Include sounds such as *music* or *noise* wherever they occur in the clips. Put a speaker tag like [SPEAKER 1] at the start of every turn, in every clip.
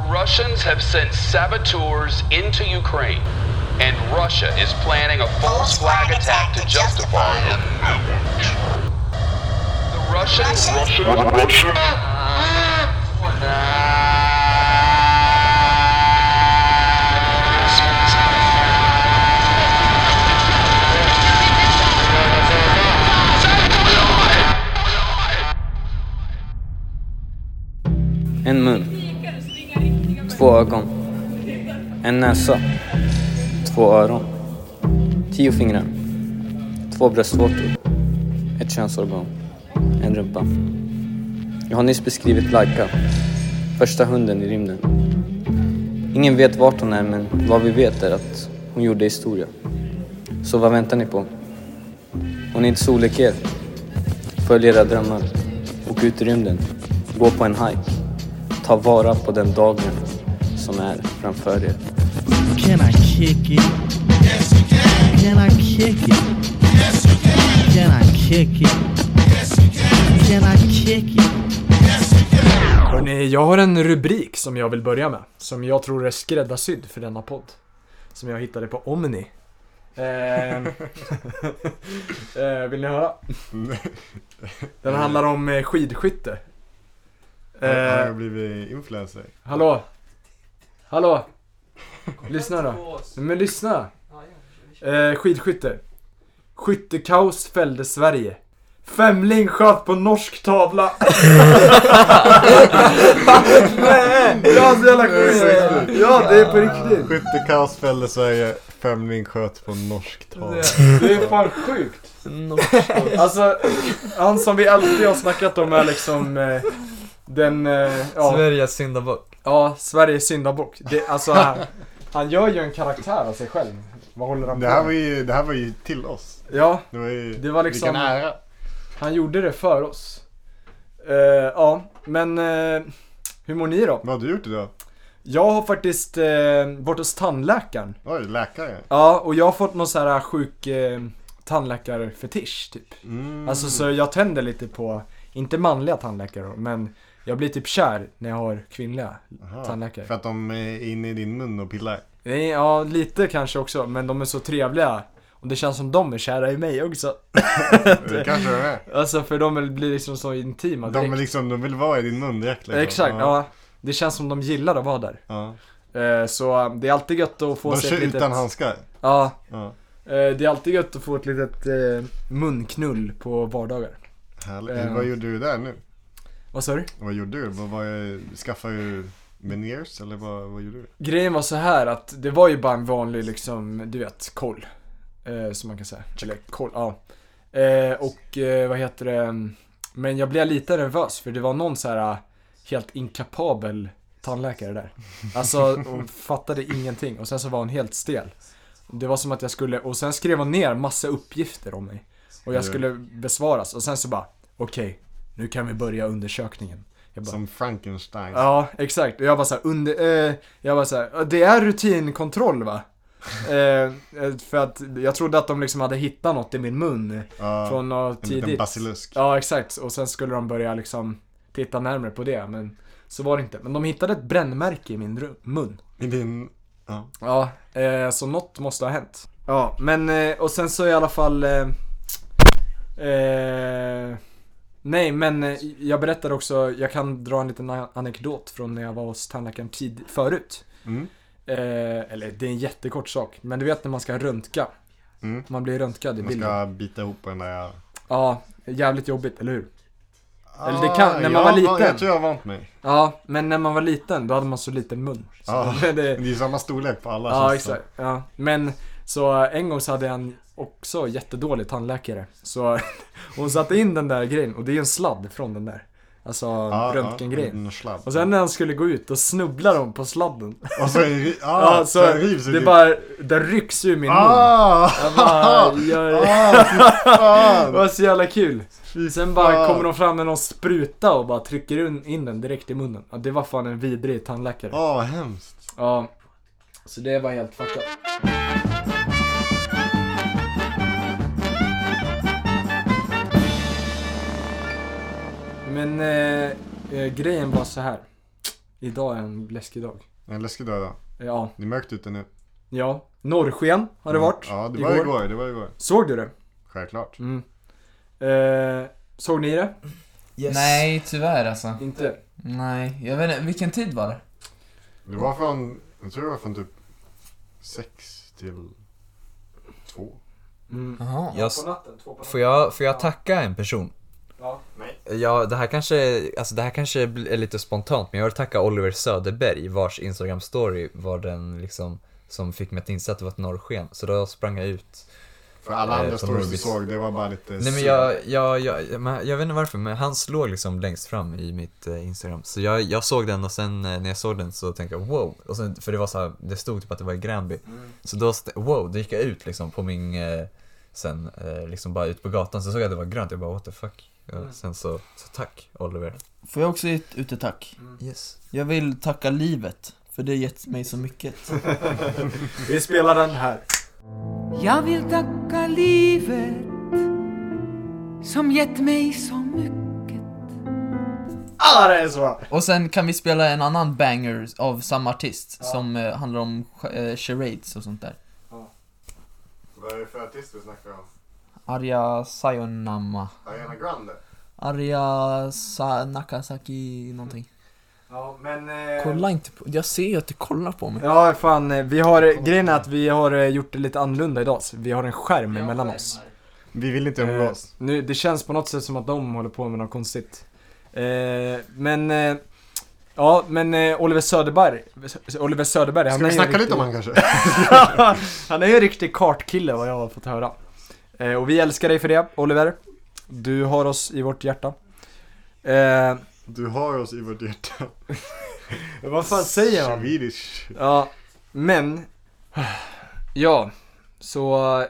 [SPEAKER 1] Russians have sent saboteurs into Ukraine, and Russia is planning a false flag attack to justify it. The Russians.
[SPEAKER 2] En mun. Två ögon. En näsa. Två öron. Tio fingrar. Två bröstvårtor. Ett könsorgan. En rumpa. Jag har nyss beskrivit Laika. Första hunden i rymden. Ingen vet vart hon är men vad vi vet är att hon gjorde historia. Så vad väntar ni på? Hon är ett solik er. Följ era drömmar. Åk ut i rymden. Gå på en hike. Ta vara på den dagen som är framför er.
[SPEAKER 3] Can I kick it? Can I kick it? Can I kick it? Can I kick it?
[SPEAKER 4] Hörrni, jag har en rubrik som jag vill börja med. Som jag tror är skräddarsydd för denna podd. Som jag hittade på Omni. Ehm, eh, vill ni höra? Den handlar om eh, skidskytte.
[SPEAKER 5] Har har
[SPEAKER 4] Eh,
[SPEAKER 5] jag blivit influencer?
[SPEAKER 4] hallå? Hallå? Lyssna då. Men lyssna. Eh, skidskytte. Skyttekaos fällde Sverige. Femling sköt på norsk tavla. *laughs* Nej, jag är så jävla sjuk. Ja, det är på riktigt.
[SPEAKER 5] Skyttekaos fällde Sverige, femling sköt på norsk tal.
[SPEAKER 4] Det är fan sjukt. Alltså, han som vi alltid har snackat om är liksom eh, den, eh, ja,
[SPEAKER 6] Sveriges syndabock.
[SPEAKER 4] ja Sveriges syndabock. Det, alltså, han, han gör ju en karaktär av sig själv. Vad håller han
[SPEAKER 5] Det här
[SPEAKER 4] på
[SPEAKER 5] var
[SPEAKER 4] med?
[SPEAKER 5] ju, det här var ju till oss.
[SPEAKER 4] Ja,
[SPEAKER 5] Det var ju,
[SPEAKER 4] Det var liksom-
[SPEAKER 5] vilken ära.
[SPEAKER 4] han gjorde det för oss. Eh, ja, men eh, hur mår ni då?
[SPEAKER 5] Vad har du gjort idag?
[SPEAKER 4] Jag har faktiskt eh, varit hos tandläkaren.
[SPEAKER 5] Oj, läkare.
[SPEAKER 4] Ja, och jag har fått någon sån här sjuk eh, tandläkarfetisch typ.
[SPEAKER 5] Mm.
[SPEAKER 4] Alltså så jag tänder lite på, inte manliga tandläkare då, men jag blir typ kär när jag har kvinnliga
[SPEAKER 5] Aha.
[SPEAKER 4] tandläkare.
[SPEAKER 5] För att de är inne i din mun och pillar.
[SPEAKER 4] Nej, ja, lite kanske också, men de är så trevliga. Och det känns som de är kära i mig också. *laughs*
[SPEAKER 5] Det kanske de är.
[SPEAKER 4] Alltså för de är- blir liksom så intima direkt.
[SPEAKER 5] De, är liksom, de vill vara i din mun direkt liksom.
[SPEAKER 4] Exakt, ja. Det känns som de gillar att vara där.
[SPEAKER 5] ja.
[SPEAKER 4] Eh, Så eh, det är alltid gött att få
[SPEAKER 5] De
[SPEAKER 4] sig
[SPEAKER 5] kör
[SPEAKER 4] ett litet...
[SPEAKER 5] utan handskar.
[SPEAKER 4] Ja,
[SPEAKER 5] Ja.
[SPEAKER 4] eh, det är alltid gött att få ett litet eh, munknull på vardagar.
[SPEAKER 5] Härligt.
[SPEAKER 4] Eh.
[SPEAKER 5] Vad gjorde du där nu?
[SPEAKER 4] Vad sa du?
[SPEAKER 5] Vad gjorde du? Vad, vad, skaffade du meniers eller vad, vad gjorde du?
[SPEAKER 4] Grejen var så här att det var ju bara en vanlig liksom, du vet, koll. Eh, som man kan säga. Eller koll, ja. Eh, och eh, vad heter det? Men jag blev lite nervös för det var någon så här eh, helt inkapabel tandläkare där. Alltså hon fattade ingenting och sen så var hon helt stel. Det var som att jag skulle, och sen skrev hon ner massa uppgifter om mig. Och jag skulle besvaras och sen så bara, okej, nu kan vi börja undersökningen. Jag bara,
[SPEAKER 5] Som Frankenstein.
[SPEAKER 4] Ja, exakt. Och jag bara såhär, under, eh, jag bara såhär, "Ja, det är rutinkontroll
[SPEAKER 5] *laughs*
[SPEAKER 4] va? eh, eh, för att jag trodde att de liksom hade hittat något i min mun
[SPEAKER 5] Ja,
[SPEAKER 4] från något
[SPEAKER 5] en liten
[SPEAKER 4] tidigt.
[SPEAKER 5] basilusk.
[SPEAKER 4] Ja, exakt. Och sen skulle de börja liksom titta närmare på det, men så var det inte. Men de hittade ett brännmärke i min ru- mun.
[SPEAKER 5] I din... Ja.
[SPEAKER 4] Ja, eh, så något måste ha hänt. Ja, men eh, och sen så i alla fall... Eh, eh, nej, men eh, jag berättade också, jag kan dra en liten a- anekdot från när jag var hos tandläkaren tid, förut.
[SPEAKER 5] Mm.
[SPEAKER 4] Eh, eller det är en jättekort sak, men du vet när man ska röntga.
[SPEAKER 5] Mm.
[SPEAKER 4] Man blir röntgad i
[SPEAKER 5] Man
[SPEAKER 4] bilden.
[SPEAKER 5] ska bita ihop den där...
[SPEAKER 4] Ja, jävligt jobbigt, eller hur? Eller det
[SPEAKER 5] Ah,
[SPEAKER 4] kan- när man
[SPEAKER 5] jag
[SPEAKER 4] var
[SPEAKER 5] har-
[SPEAKER 4] liten.
[SPEAKER 5] Jag tror jag har vant mig.
[SPEAKER 4] Ja, men när man var liten då hade man så liten mun. Så
[SPEAKER 5] Ja.
[SPEAKER 4] *laughs* det,
[SPEAKER 5] Det är ju samma storlek på alla
[SPEAKER 4] Ja,
[SPEAKER 5] känns det som.
[SPEAKER 4] exakt. Ja. Men så eh, en gång så hade jag en också jättedålig tandläkare. Så *laughs* hon satte in den där grejen och det är en sladd från den där. Alltså
[SPEAKER 5] Ja,
[SPEAKER 4] röntgengrejen.
[SPEAKER 5] Ja, en sladd.
[SPEAKER 4] Och sen när han skulle gå ut, då snubblar de på sladden.
[SPEAKER 5] Och så, ja,
[SPEAKER 4] *laughs* Ja,
[SPEAKER 5] så,
[SPEAKER 4] så
[SPEAKER 5] rivs
[SPEAKER 4] det bara, den rycks ur min mun.
[SPEAKER 5] Ah!
[SPEAKER 4] Jag bara, jag,
[SPEAKER 5] *laughs* Ah, fy
[SPEAKER 4] det *laughs*
[SPEAKER 5] fan!
[SPEAKER 4] var så jävla kul.
[SPEAKER 5] Fy
[SPEAKER 4] Sen bara
[SPEAKER 5] fan.
[SPEAKER 4] kommer de fram med någon spruta och bara trycker in- in den direkt i munnen. Ja, det var fan en vidrig tandläkare.
[SPEAKER 5] Ah, vad hemskt.
[SPEAKER 4] Ja. Så det var helt fuckat. Men eh, eh, grejen var så här. Idag är en läskig dag. Eh,
[SPEAKER 5] En läskig dag idag.
[SPEAKER 4] Ja,
[SPEAKER 5] Det är mörkt ute nu.
[SPEAKER 4] ja. Norrsken har det varit.
[SPEAKER 5] Mm. Ja, det var igår. Det var igår.
[SPEAKER 4] Såg du det?
[SPEAKER 5] Självklart.
[SPEAKER 4] Mm. Eh, såg ni det?
[SPEAKER 6] Nej, tyvärr alltså.
[SPEAKER 4] Inte?
[SPEAKER 6] Nej, jag vet inte. Vilken tid var det?
[SPEAKER 5] Det var från, jag tror det var från typ sex till två.
[SPEAKER 4] Mm.
[SPEAKER 7] Jaha.
[SPEAKER 8] Jag,
[SPEAKER 4] På natten, två på natten.
[SPEAKER 8] får, jag, får jag tacka en person?
[SPEAKER 4] Ja.
[SPEAKER 8] Ja, det här kanske, alltså det här kanske bl- är lite spontant, men jag vill tacka Oliver Söderberg vars Instagram-story var den liksom som fick mig att inse att det var ett norrsken. Så då sprang jag ut.
[SPEAKER 5] För alla
[SPEAKER 8] Eh,
[SPEAKER 5] andra
[SPEAKER 8] som
[SPEAKER 5] stories du
[SPEAKER 8] Rubis.
[SPEAKER 5] såg, det var bara lite
[SPEAKER 8] Nej men
[SPEAKER 5] synd.
[SPEAKER 8] jag, jag, jag, men jag vet inte varför, men hans låg liksom längst fram i mitt eh, Instagram. Så jag, jag såg den och sen eh, när jag såg den så tänkte jag wow. Och sen, för det var så här, det stod typ att det var i Gränby. Så då, st- wow, då gick jag ut liksom på min, eh, sen eh, liksom bara ut på gatan. Så såg jag att det var grönt, jag bara what the fuck. Ja, Sen så, så tack Oliver.
[SPEAKER 7] Får jag också ge ett- ut ett tack?
[SPEAKER 8] Yes.
[SPEAKER 7] Jag vill tacka livet, för det har gett mig så mycket.
[SPEAKER 4] Vi spelar den här.
[SPEAKER 9] Jag vill tacka livet som gett mig så mycket
[SPEAKER 4] Alla det är så bra!
[SPEAKER 7] Och sen kan vi spela en annan banger av samma artist som eh, handlar om eh, charades och sånt där.
[SPEAKER 5] Vad är det för artist du snackar om?
[SPEAKER 7] Arya Sayonama.
[SPEAKER 5] Ariana Grande?
[SPEAKER 7] Arya Sa- Nakasaki någonting.
[SPEAKER 4] Ja, men... eh,
[SPEAKER 7] Kolla inte på, jag ser ju att du kollar på mig.
[SPEAKER 4] Ja, fan. eh, Vi har, grejen är att vi har eh, gjort det lite annorlunda idag. Så vi har en skärm emellan oss.
[SPEAKER 5] Vi vill inte
[SPEAKER 4] Eh,
[SPEAKER 5] umgås.
[SPEAKER 4] nu, det känns på något sätt som att de håller på med något konstigt. Eh, men, eh, ja men eh, Oliver Söderberg, Oliver Söderberg,
[SPEAKER 5] Ska vi
[SPEAKER 4] ju en
[SPEAKER 5] snacka
[SPEAKER 4] riktig-
[SPEAKER 5] lite om han kanske?
[SPEAKER 4] *laughs* han är ju en riktig kartkille vad jag har fått höra. Eh, och vi älskar dig för det, Oliver. Du har oss i vårt hjärta. Eh,
[SPEAKER 5] *laughs* Du har oss i vårt hjärta.
[SPEAKER 4] vad fan säger man?
[SPEAKER 5] Swedish.
[SPEAKER 4] Ja, men... Ja, så eh,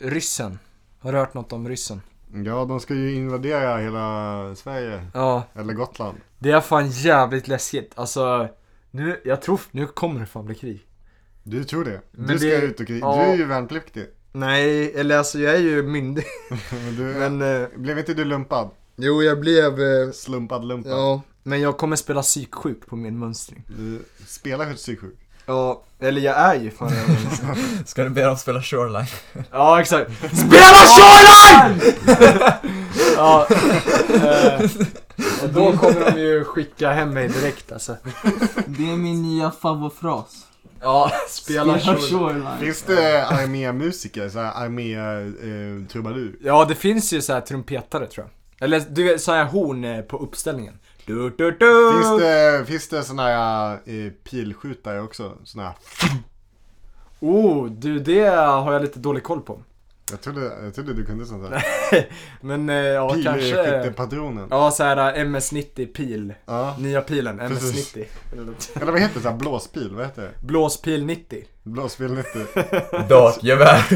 [SPEAKER 4] ryssen. Har du hört något om ryssen?
[SPEAKER 5] Ja, de ska ju invadera hela Sverige.
[SPEAKER 4] Ja,
[SPEAKER 5] Eller Gotland.
[SPEAKER 4] det är fan jävligt läskigt. Alltså, nu, jag tror, nu kommer det fan bli krig.
[SPEAKER 5] Du tror det? Du
[SPEAKER 4] Men
[SPEAKER 5] ska
[SPEAKER 4] det-
[SPEAKER 5] ut och kriga.
[SPEAKER 4] ja.
[SPEAKER 5] Du är ju värnpliktig.
[SPEAKER 4] Nej, eller alltså jag är ju *laughs* myndig.
[SPEAKER 5] Men du,
[SPEAKER 4] Men, eh,
[SPEAKER 5] blev inte du lumpad?
[SPEAKER 4] jo jag blev, eh,
[SPEAKER 5] Slumpad lumpad.
[SPEAKER 4] ja. Men jag kommer spela psyksjuk på min mönstring.
[SPEAKER 5] Du spelar psyksjuk.
[SPEAKER 4] Ja, eller jag är ju fan redan *laughs* det.
[SPEAKER 8] Ska du be dem spela Shoreline?
[SPEAKER 4] Ja exakt. SPELA SHORELINE! ja. eh, och då kommer de ju skicka hem mig direkt alltså.
[SPEAKER 7] Det är min nya favoritfras.
[SPEAKER 4] Ja, spela Shoreline.
[SPEAKER 5] Finns det armémusiker? Såhär eh, armé-trubadur?
[SPEAKER 4] Ja det finns ju så här trumpetare tror jag. Eller du vet så här horn eh, på uppställningen. Du, du, du.
[SPEAKER 5] finns,
[SPEAKER 4] Eh.
[SPEAKER 5] det, finns det såna här eh, pilskjutare också? Såna här...
[SPEAKER 4] Oh, du det har jag lite dålig koll på.
[SPEAKER 5] Jag trodde, jag trodde du kunde sånt här.
[SPEAKER 4] Men eh, ja kanske.
[SPEAKER 5] Pilskyttepatronen.
[SPEAKER 4] Ja så här eh, MS-90 pil.
[SPEAKER 5] Ja.
[SPEAKER 4] Nya pilen,
[SPEAKER 5] Precis.
[SPEAKER 4] MS-90.
[SPEAKER 5] Eller vad heter det? Så här, blåspil? Vad heter det?
[SPEAKER 4] Blåspil 90.
[SPEAKER 5] Blåspil 90.
[SPEAKER 4] *laughs*
[SPEAKER 8] Dakgevär!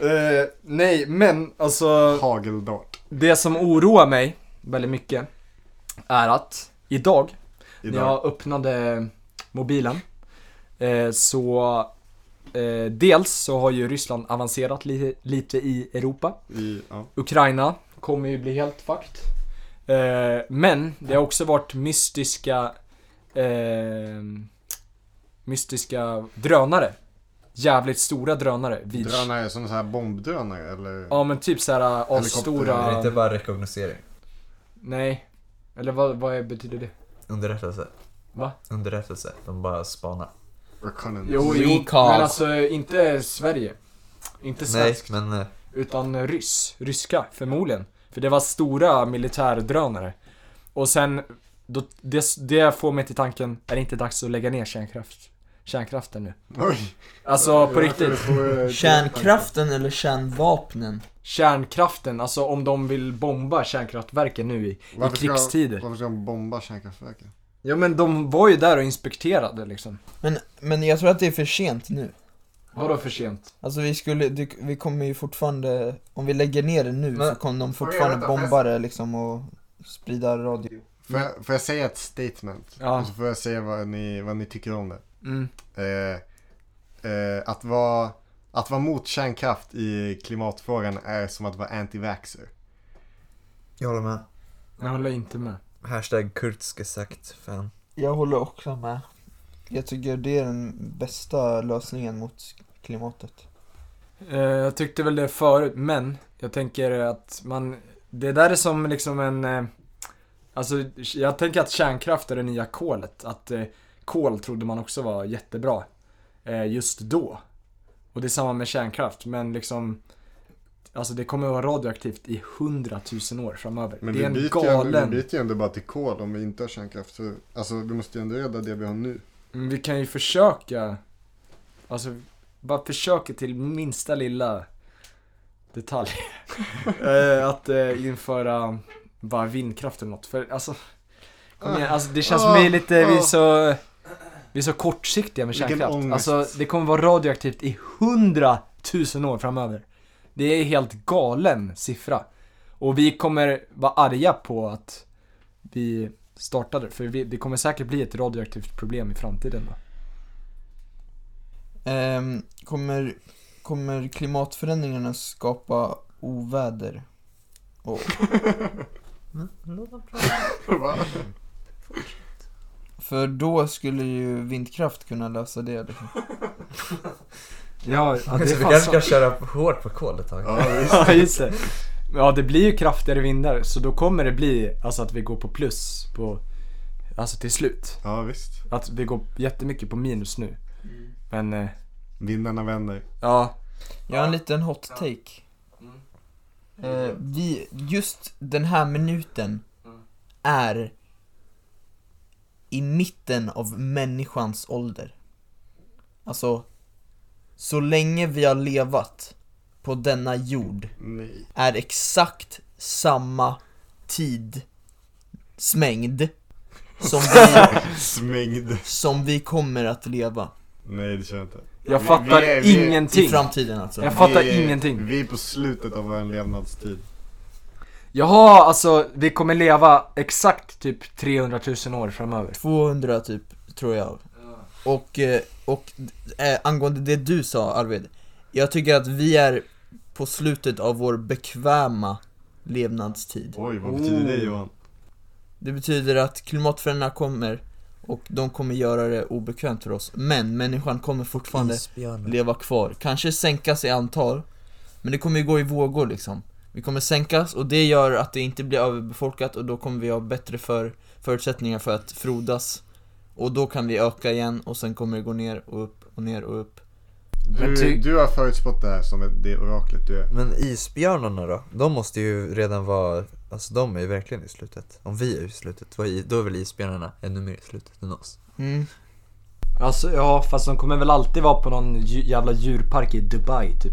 [SPEAKER 4] Eh, nej, men alltså
[SPEAKER 5] Hageldart.
[SPEAKER 4] det som oroar mig väldigt mycket är att idag, när
[SPEAKER 5] Idag.
[SPEAKER 4] jag öppnade mobilen eh, så eh, dels så har ju Ryssland avancerat li- lite i Europa.
[SPEAKER 5] I, ja.
[SPEAKER 4] Ukraina kommer ju bli helt fucked. Eh, men det har också varit mystiska eh, mystiska drönare. Jävligt stora drönare vid
[SPEAKER 5] Drönare, som så här bombdrönare eller?
[SPEAKER 4] Ja men typ såhär
[SPEAKER 8] Är det
[SPEAKER 4] avstora...
[SPEAKER 8] inte bara rekognosering?
[SPEAKER 4] Nej. Eller vad, vad är- betyder det?
[SPEAKER 8] Underrättelse.
[SPEAKER 4] Va?
[SPEAKER 8] Underrättelse. De bara spanar.
[SPEAKER 5] Reconnaissance.
[SPEAKER 4] Jo, jo
[SPEAKER 7] Recall.
[SPEAKER 4] men alltså inte Sverige. Inte
[SPEAKER 8] Nej,
[SPEAKER 4] svenskt.
[SPEAKER 8] men eh,
[SPEAKER 4] Utan ryss. Ryska, förmodligen. För det var stora militärdrönare. Och sen, då, det, det får mig till tanken, är det inte dags att lägga ner kärnkraft, kärnkraften nu?
[SPEAKER 5] Oj!
[SPEAKER 4] Alltså på
[SPEAKER 5] Jag tror
[SPEAKER 4] riktigt.
[SPEAKER 5] du får, eh,
[SPEAKER 7] Kärnkraften eller kärnvapnen?
[SPEAKER 4] Kärnkraften, alltså om de vill bomba kärnkraftverken nu i, i
[SPEAKER 5] varför ska de-
[SPEAKER 4] krigstider.
[SPEAKER 5] Varför ska de bomba kärnkraftverken?
[SPEAKER 4] Ja men de var ju där och inspekterade liksom.
[SPEAKER 7] Men, men jag tror att det är för sent nu.
[SPEAKER 4] Vadå för sent?
[SPEAKER 7] Alltså vi skulle, det, vi kommer ju fortfarande, om vi lägger ner det nu så
[SPEAKER 8] Men-
[SPEAKER 7] kommer de fortfarande
[SPEAKER 5] vänta,
[SPEAKER 7] bomba det liksom och sprida radio.
[SPEAKER 5] Får jag, får jag säga ett statement?
[SPEAKER 4] Ja.
[SPEAKER 5] Och så får jag säga vad ni, vad ni tycker om det.
[SPEAKER 4] Mm.
[SPEAKER 5] Eh, eh, att, vara, att vara mot kärnkraft i klimatfrågan är som att vara anti-vaxxer.
[SPEAKER 8] jag håller med.
[SPEAKER 4] Jag håller inte med.
[SPEAKER 8] Hashtag Kurtzgesagt fan.
[SPEAKER 7] Jag håller också med. Jag tycker det är den bästa lösningen mot klimatet.
[SPEAKER 4] Eh, Jag tyckte väl det förut, men jag tänker att man, det där är som liksom en, eh, alltså jag tänker att kärnkraft är det nya kolet. Att eh, kol trodde man också var jättebra eh, just då. Och det är samma med kärnkraft, men liksom, alltså det kommer vara radioaktivt i hundratusen år framöver.
[SPEAKER 5] Men
[SPEAKER 4] det är
[SPEAKER 5] vi
[SPEAKER 4] en
[SPEAKER 5] byter, ju ändå, vi
[SPEAKER 4] galen...
[SPEAKER 5] byter ju ändå bara till kol om vi inte har kärnkraft. För, alltså vi måste ju ändå rädda det vi har nu.
[SPEAKER 4] Men Mm, vi kan ju försöka, alltså bara försöka till minsta lilla
[SPEAKER 5] *laughs*
[SPEAKER 4] detalj. Eh, att eh, införa bara vindkraft eller något. För alltså, kom igen, alltså det känns som vi är lite, vi är så, vi är så kortsiktiga med
[SPEAKER 5] Vilken
[SPEAKER 4] kärnkraft.
[SPEAKER 5] ångest.
[SPEAKER 4] Alltså det kommer vara radioaktivt i hundratusen år framöver. Det är helt galen siffra. Och vi kommer vara arga på att vi startade, för vi, det kommer säkert bli ett radioaktivt problem i framtiden då.
[SPEAKER 7] Ehm, kommer, kommer klimatförändringarna skapa oväder? Och
[SPEAKER 5] Va?
[SPEAKER 7] För då skulle ju vindkraft kunna lösa det. Liksom.
[SPEAKER 5] *laughs*
[SPEAKER 4] Ja, ja det
[SPEAKER 8] Så
[SPEAKER 4] är
[SPEAKER 8] vi
[SPEAKER 4] fan
[SPEAKER 8] kanske
[SPEAKER 4] sant.
[SPEAKER 8] kan köra hårt på kol ett tag.
[SPEAKER 5] Ja, visst.
[SPEAKER 4] *laughs* Ja, just det. Ja, det blir ju kraftigare vindar, så då kommer det bli alltså att vi går på plus på, alltså till slut.
[SPEAKER 5] Ja, visst.
[SPEAKER 4] Att vi går jättemycket på minus nu. Men, eh,
[SPEAKER 5] Vindarna vänder.
[SPEAKER 4] ja.
[SPEAKER 7] Jag har en liten hot take. Eh, vi, just den här minuten är i mitten av människans ålder. Alltså, så länge vi har levat på denna jord
[SPEAKER 5] Nej.
[SPEAKER 7] är exakt samma tidsmängd som
[SPEAKER 4] *laughs*
[SPEAKER 7] vi,
[SPEAKER 5] Smängd.
[SPEAKER 7] som vi kommer att leva.
[SPEAKER 5] Nej, det kör jag inte.
[SPEAKER 4] Jag
[SPEAKER 5] Vi-
[SPEAKER 4] fattar
[SPEAKER 5] vi är- vi är-
[SPEAKER 7] I
[SPEAKER 4] ingenting.
[SPEAKER 7] framtiden alltså.
[SPEAKER 4] Jag fattar
[SPEAKER 5] Vi är-
[SPEAKER 4] ingenting.
[SPEAKER 5] Vi är på slutet av vår levnadstid.
[SPEAKER 4] Jaha, alltså vi kommer leva exakt typ 300 000 år framöver.
[SPEAKER 7] 200 typ, tror jag. Och, eh, och eh, angående det du sa Arvid, jag tycker att vi är på slutet av vår bekväma levnadstid.
[SPEAKER 5] Oj, vad betyder det Johan?
[SPEAKER 7] Det betyder att klimatförändringarna kommer och de kommer göra det obekvämt för oss. Men människan kommer fortfarande leva kvar. Kanske sänkas i antal, men det kommer ju gå i vågor liksom. Vi kommer sänkas och det gör att det inte blir överbefolkat och då kommer vi ha bättre för förutsättningar för att frodas. Och då kan vi öka igen och sen kommer det gå ner och upp och ner och upp.
[SPEAKER 5] Du,
[SPEAKER 4] Men ty-
[SPEAKER 5] du har förutspått det här som ett- det oraklet du är.
[SPEAKER 8] Men isbjörnarna då? De måste ju redan vara, alltså de är ju verkligen i slutet. Om vi är i slutet, vad är- då är väl isbjörnarna ännu mer i slutet än oss.
[SPEAKER 7] Mm.
[SPEAKER 4] Alltså ja, fast de kommer väl alltid vara på någon dju- jävla djurpark i Dubai typ.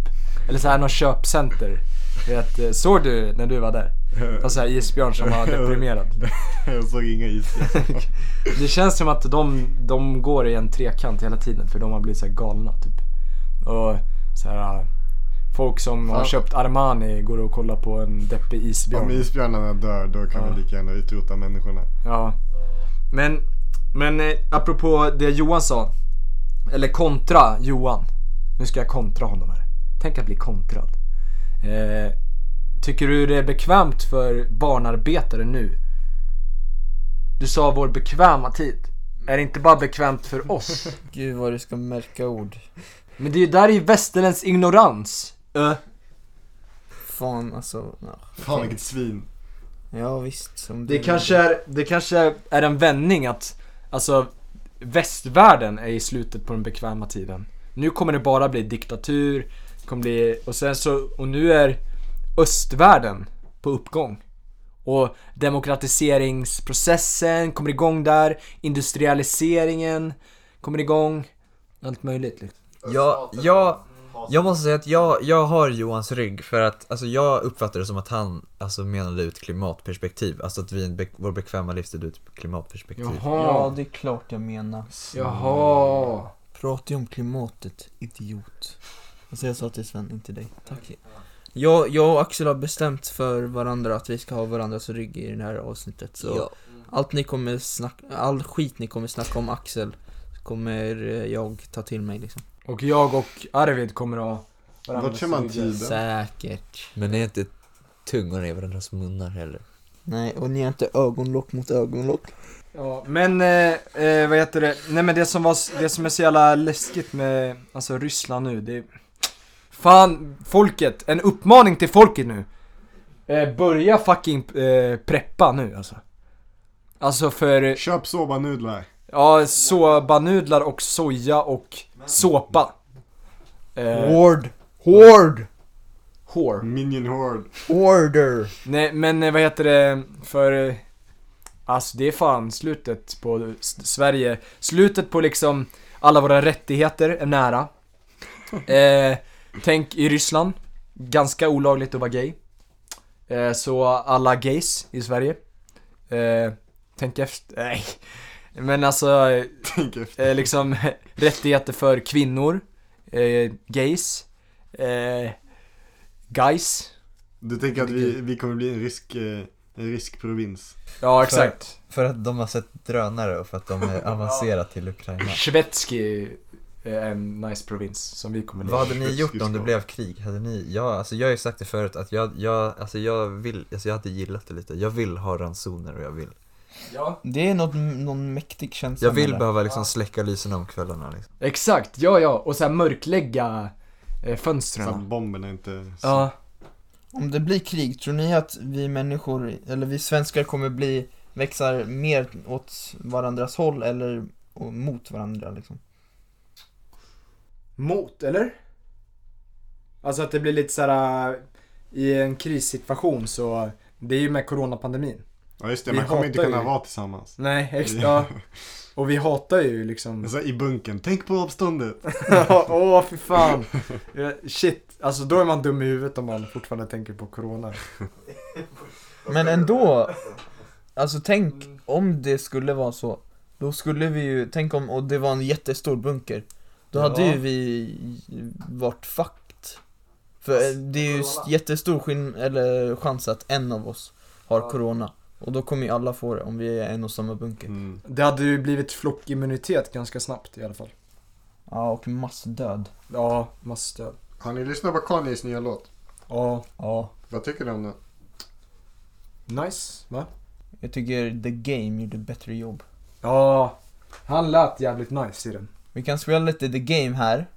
[SPEAKER 4] Eller så här någon köpcenter. Vet, eh, såg du när du var där? Fast såhär isbjörn som var deprimerad.
[SPEAKER 5] *laughs* Jag såg
[SPEAKER 4] *laughs*
[SPEAKER 5] inga is.
[SPEAKER 4] Det känns som att de, de går i en trekant hela tiden för de har blivit så här galna typ. Och så här, eh, folk som har
[SPEAKER 5] Fan.
[SPEAKER 4] köpt Armani går och kollar på en deppig
[SPEAKER 5] Om
[SPEAKER 4] isbjörn.
[SPEAKER 5] isbjörnarna dör, då kan
[SPEAKER 4] Ja.
[SPEAKER 5] vi lika gärna utrota människorna.
[SPEAKER 4] Ja. Men, men eh, apropå det Johan sa. Eller kontra Johan. Nu ska jag kontra honom här. Tänk att bli kontrad. Eh, tycker du det är bekvämt för barnarbetare nu? Du sa vår bekväma tid. Är det inte bara bekvämt för oss?
[SPEAKER 7] Gud vad du ska märka ord.
[SPEAKER 4] Men det är ju där är ju västerländsk ignorans. Ö.
[SPEAKER 7] Fan alltså. ja.
[SPEAKER 5] Fan vilket svin.
[SPEAKER 7] Ja visst. Som
[SPEAKER 4] Det
[SPEAKER 7] du-
[SPEAKER 4] kanske är, det kanske är en vändning att, alltså västvärlden är i slutet på den bekväma tiden. Nu kommer det bara bli diktatur, det kommer bli, och sen så, och nu är östvärlden på uppgång. Och demokratiseringsprocessen kommer igång där, industrialiseringen kommer igång, allt möjligt liksom.
[SPEAKER 8] Jag, jag, jag måste säga att jag, jag har Johans rygg för att alltså jag uppfattar det som att han alltså, menade ut klimatperspektiv. Alltså att vi, är en be- vår bekväma livsstil ut ett klimatperspektiv.
[SPEAKER 7] Ja det är klart jag menar.
[SPEAKER 4] Jaha.
[SPEAKER 7] Prata ju om klimatet, idiot. Alltså jag sa till Sven, inte dig. Tack. Jag, jag och Axel har bestämt för varandra att vi ska ha varandras rygg i det här avsnittet. Så
[SPEAKER 8] Ja.
[SPEAKER 7] allt ni kommer snacka, all skit ni kommer snacka om Axel kommer eh, jag ta till mig liksom.
[SPEAKER 4] Och jag och Arvid kommer att
[SPEAKER 5] Vart kör man
[SPEAKER 4] tid?
[SPEAKER 5] tiden?
[SPEAKER 7] Säkert.
[SPEAKER 8] Men är inte tungorna i varandras munnar heller?
[SPEAKER 7] Nej, och ni har inte ögonlock mot ögonlock.
[SPEAKER 4] Ja, men eh, eh, vad heter det? Nej men det som, var, s- det som är så jävla läskigt med alltså, Ryssland nu, det är... Fan, folket! En uppmaning till folket nu! Eh, börja fucking eh, preppa nu alltså. Alltså för, eh,
[SPEAKER 5] Köp sobanudlar.
[SPEAKER 4] ja, sobanudlar och soja och såpa. Eh,
[SPEAKER 7] Ward. Ward.
[SPEAKER 4] hår.
[SPEAKER 5] Minion Horde.
[SPEAKER 7] Order.
[SPEAKER 4] Nej men eh, vad heter det, för... eh, Alltså det är fan slutet på S- Sverige, slutet på liksom alla våra rättigheter är
[SPEAKER 5] *laughs*
[SPEAKER 4] nära. Eh, tänk i Ryssland, ganska olagligt att vara gay. Eh, så alla gays i Sverige. Eh, tänk efter, nej. Men alltså, eh,
[SPEAKER 5] Tänk efter.
[SPEAKER 4] eh, liksom rättigheter för kvinnor, eh, gays, eh, guys.
[SPEAKER 5] Du tänker att vi, vi kommer bli en risk... eh, En riskprovins.
[SPEAKER 4] Ja exakt.
[SPEAKER 8] För att de har sett drönare och för att de är avancerat till Ukraina.
[SPEAKER 4] Svetski är en nice provins som vi kommer
[SPEAKER 8] Vad
[SPEAKER 4] ner.
[SPEAKER 8] hade ni gjort om det blev krig? Hade ni, ja, alltså jag har ju sagt det förut att jag, jag, alltså jag vill, alltså jag hade gillat det lite. Jag vill ha ransoner och jag vill.
[SPEAKER 4] Ja.
[SPEAKER 7] Det är något, någon mäktig känsla
[SPEAKER 8] Jag vill
[SPEAKER 7] med det.
[SPEAKER 8] behöva liksom släcka lyserna om kvällarna liksom.
[SPEAKER 4] Exakt, ja ja. Och sen mörklägga eh,
[SPEAKER 5] Så att
[SPEAKER 4] fönstren.
[SPEAKER 5] bomberna inte...
[SPEAKER 4] Ja.
[SPEAKER 7] Om det blir krig, tror ni att vi människor, eller vi svenskar kommer bli, växar mer åt varandras håll eller och mot varandra liksom?
[SPEAKER 4] Mot, eller? Alltså att det blir lite såhär äh, i en krissituation så, det är ju med coronapandemin.
[SPEAKER 5] Ja just det,
[SPEAKER 4] Vi
[SPEAKER 5] man kommer inte
[SPEAKER 4] hatar
[SPEAKER 5] kunna
[SPEAKER 4] ju-
[SPEAKER 5] vara tillsammans.
[SPEAKER 4] Nej, ex- ja. Och vi hatar ju *laughs* liksom.
[SPEAKER 5] *laughs* Så här, I bunkern, tänk på avståndet.
[SPEAKER 4] Ja, Åh, fy fan. Ja, Shit, alltså då är man dum i huvudet om man fortfarande tänker på corona.
[SPEAKER 7] Men ändå, alltså tänk om det skulle vara så, då skulle vi ju, tänk om, och det var en jättestor bunker, då hade
[SPEAKER 4] Ja.
[SPEAKER 7] ju vi varit fucked. För eh, det är ju s- jättestor skinn, eller chans att en av oss har corona, och då kommer ju alla få det om vi är i en och samma bunker.
[SPEAKER 5] Mm.
[SPEAKER 4] Det hade ju blivit flockimmunitet ganska snabbt i alla fall.
[SPEAKER 7] Ja, och massdöd.
[SPEAKER 4] Ja, massdöd.
[SPEAKER 5] Har ni lyssnat på Kanyes nya låt?
[SPEAKER 4] Ja.
[SPEAKER 7] Ja.
[SPEAKER 5] Vad tycker ni om den?
[SPEAKER 4] Nice, va?
[SPEAKER 7] Jag tycker The Game gjorde ett bättre jobb.
[SPEAKER 4] Ja, han lät jävligt nice i den.
[SPEAKER 7] Vi kan spela lite The Game här.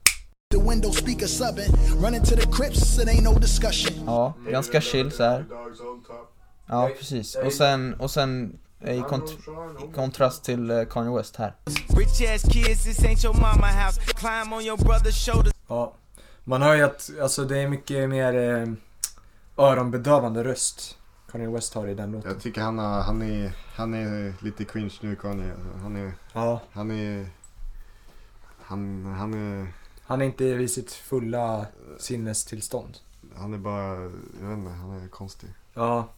[SPEAKER 10] The window speaker subbing, running to the crypts, it ain't no discussion.
[SPEAKER 7] Ja, ganska chill så här. Ja, precis. Och sen, och sen eh, i, kont- i kontrast till eh, Kanye West här.
[SPEAKER 3] Rich ass kids, this ain't your mama house. Climb on your brother's shoulders.
[SPEAKER 4] Ja, man hör ju att alltså, det är mycket mer eh, öronbedövande röst Kanye West har i den låten.
[SPEAKER 5] Jag tycker han, har, han, är, han är lite cringe nu Kanye. Alltså, Han är...
[SPEAKER 4] Ja,
[SPEAKER 5] Han är... Han, han är...
[SPEAKER 4] han är inte vid sitt fulla sinnestillstånd.
[SPEAKER 5] Han är bara... Jag vet inte, han är konstig. *laughs*
[SPEAKER 4] Ja.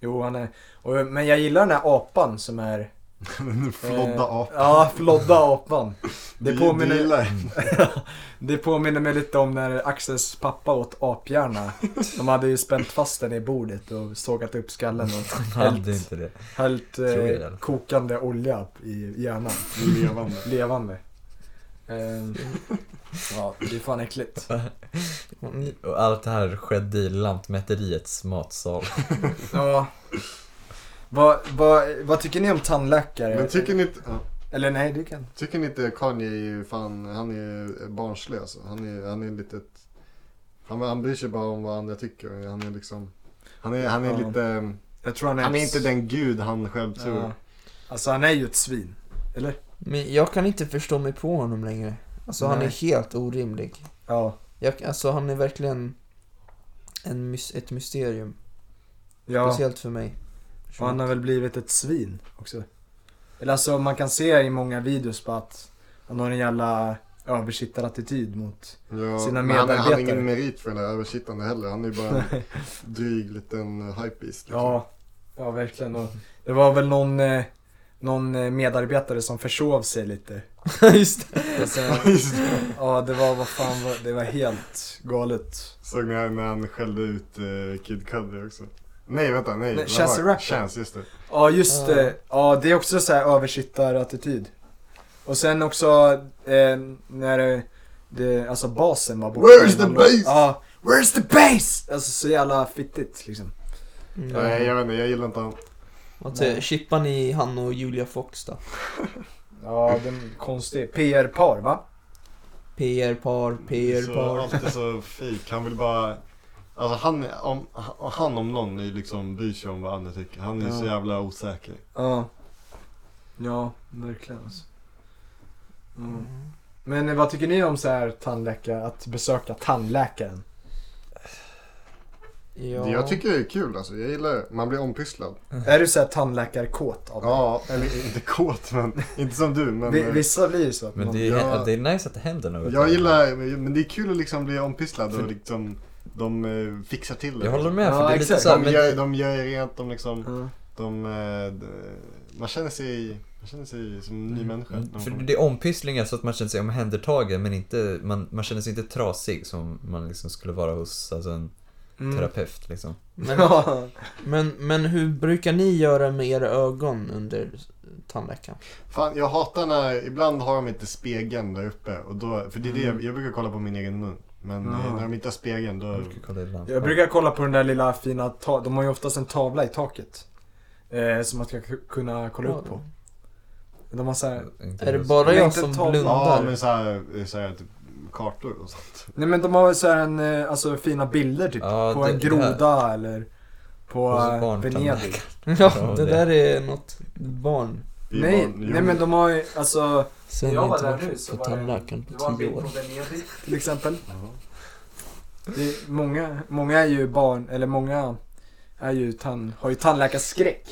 [SPEAKER 4] Jo, han är... Och, men jag gillar den här apan som är...
[SPEAKER 5] Den flodda
[SPEAKER 4] eh,
[SPEAKER 5] apan.
[SPEAKER 4] Ja, flodda apan. Det
[SPEAKER 5] Du-
[SPEAKER 4] påminner- Mm.
[SPEAKER 5] Du gillar den.
[SPEAKER 4] Det påminner mig lite om när Axels pappa åt aphjärna. De hade ju spänt fast den i bordet och sågat upp skallen och hällt,
[SPEAKER 8] Hade inte det.
[SPEAKER 4] hällt
[SPEAKER 8] Tror jag i alla
[SPEAKER 4] eh,
[SPEAKER 8] fall.
[SPEAKER 4] kokande olja i hjärnan.
[SPEAKER 5] Den levande.
[SPEAKER 4] levande. *laughs* Ehm, ja, det är fan äckligt.
[SPEAKER 8] Och allt det här skedde i Lantmäteriets matsal.
[SPEAKER 4] Ja. Vad, vad, vad tycker ni om tandläkare?
[SPEAKER 5] Men tycker ni inte... ja,
[SPEAKER 4] Eller nej, du kan.
[SPEAKER 5] Tycker ni inte Kanye är ju fan... Han är barnslig alltså. Han är, han är lite... ett- Han, han bryr sig bara om vad andra tycker. Han är liksom... Han är, han är
[SPEAKER 4] Ja.
[SPEAKER 5] lite...
[SPEAKER 4] Jag tror han
[SPEAKER 5] Han är
[SPEAKER 4] ett-
[SPEAKER 5] inte den gud han själv tror.
[SPEAKER 4] Ja. Alltså han är ju ett svin. Eller?
[SPEAKER 7] Men jag kan inte förstå mig på honom längre. Alltså han
[SPEAKER 4] Nej.
[SPEAKER 7] är helt orimlig.
[SPEAKER 4] Ja.
[SPEAKER 7] Jag, alltså han är verkligen en mys- ett mysterium.
[SPEAKER 4] Ja,
[SPEAKER 7] Speciellt för mig.
[SPEAKER 4] och han har väl blivit ett svin också. Eller alltså man kan se i många videos på att han har en jävla översittarattityd mot...
[SPEAKER 5] Ja,
[SPEAKER 4] sina
[SPEAKER 5] men han, han har
[SPEAKER 4] medarbetare.
[SPEAKER 5] ingen merit för det där översittande heller. Han är ju bara
[SPEAKER 4] *laughs*
[SPEAKER 5] en dryg liten hypebeast. Liksom. *laughs*
[SPEAKER 4] Ja, ja verkligen. Och det var väl någon, eh, någon eh, medarbetare som försov sig lite.
[SPEAKER 7] Just det.
[SPEAKER 4] Och sen- Ja, det var vad fan var, det var helt galet.
[SPEAKER 5] Såg ni här när han skällde ut eh, Kid Cudi också? Nej vänta, nej.
[SPEAKER 4] Nej,
[SPEAKER 5] vad
[SPEAKER 4] Chance
[SPEAKER 5] var
[SPEAKER 4] the
[SPEAKER 5] det?
[SPEAKER 4] Rapper.
[SPEAKER 5] Chance, just det.
[SPEAKER 4] Ja, just det. Ja, det är också så här översittarattityd. Och sen också eh, när det, det, alltså basen var borta.
[SPEAKER 5] Where's the bass?
[SPEAKER 4] Ja, where's the bass? Alltså så jävla fittigt liksom.
[SPEAKER 7] Mm.
[SPEAKER 5] Nej, jag vet inte, jag gillar inte han.
[SPEAKER 7] Vad säger-
[SPEAKER 5] Nej.
[SPEAKER 7] Chippar ni han och Julia Fox då?
[SPEAKER 4] Ja, den konstig PR-par va?
[SPEAKER 7] PR-par,
[SPEAKER 5] Så,
[SPEAKER 7] PR-par.
[SPEAKER 5] alltid så fake. Han vill bara... Alltså han, om, han om någon är liksom bryr sig om vad andra tycker. Han är så
[SPEAKER 4] Ja.
[SPEAKER 5] jävla osäker.
[SPEAKER 4] Ja. Ja, verkligen alltså. Mm. Men eh, vad tycker ni om så här tandläkare, att besöka tandläkaren?
[SPEAKER 5] Det Jag tycker det är kul alltså. Jag gillar det. Man blir ompysslad.
[SPEAKER 4] Är du så här tandläkarkåt av det?
[SPEAKER 5] Ja, eller inte kåt men inte som du men...
[SPEAKER 4] Vi- Vissa blir ju så att
[SPEAKER 8] Men
[SPEAKER 4] man...
[SPEAKER 8] det är,
[SPEAKER 5] Ja.
[SPEAKER 8] det är nice att det händer något.
[SPEAKER 5] Jag gillar, men det är kul att liksom bli ompysslad
[SPEAKER 8] För-
[SPEAKER 5] och liksom de eh, fixar till det.
[SPEAKER 8] Jag håller med, för
[SPEAKER 4] Ja,
[SPEAKER 8] det är lite
[SPEAKER 4] exakt.
[SPEAKER 8] såhär,
[SPEAKER 5] De
[SPEAKER 8] men
[SPEAKER 5] gör, de gör rent, de liksom,
[SPEAKER 4] Mm.
[SPEAKER 5] de, eh, d- man känner sig, man känner sig som
[SPEAKER 4] Mm.
[SPEAKER 5] en ny människa. när man
[SPEAKER 8] Mm, För
[SPEAKER 5] kommer.
[SPEAKER 8] det är ompisklingar så att man känner sig omhändertagen men inte, man, man känner sig inte trasig som man liksom skulle vara hos alltså en
[SPEAKER 4] Mm.
[SPEAKER 8] terapeut liksom.
[SPEAKER 7] Men,
[SPEAKER 4] Ja.
[SPEAKER 7] men, men hur brukar ni göra med era ögon under tandläkaren?
[SPEAKER 5] Fan, jag hatar när, ibland har de inte spegeln där uppe och då, för det är det,
[SPEAKER 4] Mm.
[SPEAKER 5] jag, jag brukar kolla på min egen mun. Men eh,
[SPEAKER 4] Ja.
[SPEAKER 5] när de inte har spegeln då,
[SPEAKER 4] Mm.
[SPEAKER 8] Jag brukar kolla i
[SPEAKER 4] *laughs*
[SPEAKER 8] lampan.
[SPEAKER 4] Jag brukar kolla på den där lilla fina, ta- de har ju oftast en tavla i taket. Eh, som man ska k- kunna kolla upp på. De har så här,
[SPEAKER 8] Inte
[SPEAKER 7] Är det
[SPEAKER 8] hos-
[SPEAKER 7] bara
[SPEAKER 4] Men
[SPEAKER 7] jag
[SPEAKER 4] inte
[SPEAKER 7] som
[SPEAKER 4] tavlan.
[SPEAKER 5] ja
[SPEAKER 7] blundar?
[SPEAKER 5] men såhär, såhär typ kartor och sånt.
[SPEAKER 4] nej men de har så här en, eh, alltså fina bilder typ.
[SPEAKER 8] Ja,
[SPEAKER 4] på
[SPEAKER 8] det-
[SPEAKER 4] en
[SPEAKER 8] det här-
[SPEAKER 4] groda eller på
[SPEAKER 8] Hos
[SPEAKER 4] eh,
[SPEAKER 8] barntandläkaren.
[SPEAKER 4] Venedig.
[SPEAKER 7] Ja, det där är något barn.
[SPEAKER 5] Vi
[SPEAKER 4] Nej,
[SPEAKER 5] barn- jo.
[SPEAKER 4] nej men de har ju, alltså
[SPEAKER 7] Sen
[SPEAKER 4] Jag
[SPEAKER 7] jag
[SPEAKER 4] var
[SPEAKER 7] inte
[SPEAKER 4] där
[SPEAKER 7] varit
[SPEAKER 4] nu, så
[SPEAKER 7] på
[SPEAKER 4] var det-
[SPEAKER 7] tandläkaren
[SPEAKER 4] Det var
[SPEAKER 7] på
[SPEAKER 4] en
[SPEAKER 7] tio
[SPEAKER 4] bild
[SPEAKER 7] år.
[SPEAKER 4] från Venedig till exempel. Det är många, många är ju barn, eller många är ju tan, har ju tandläkarskräck.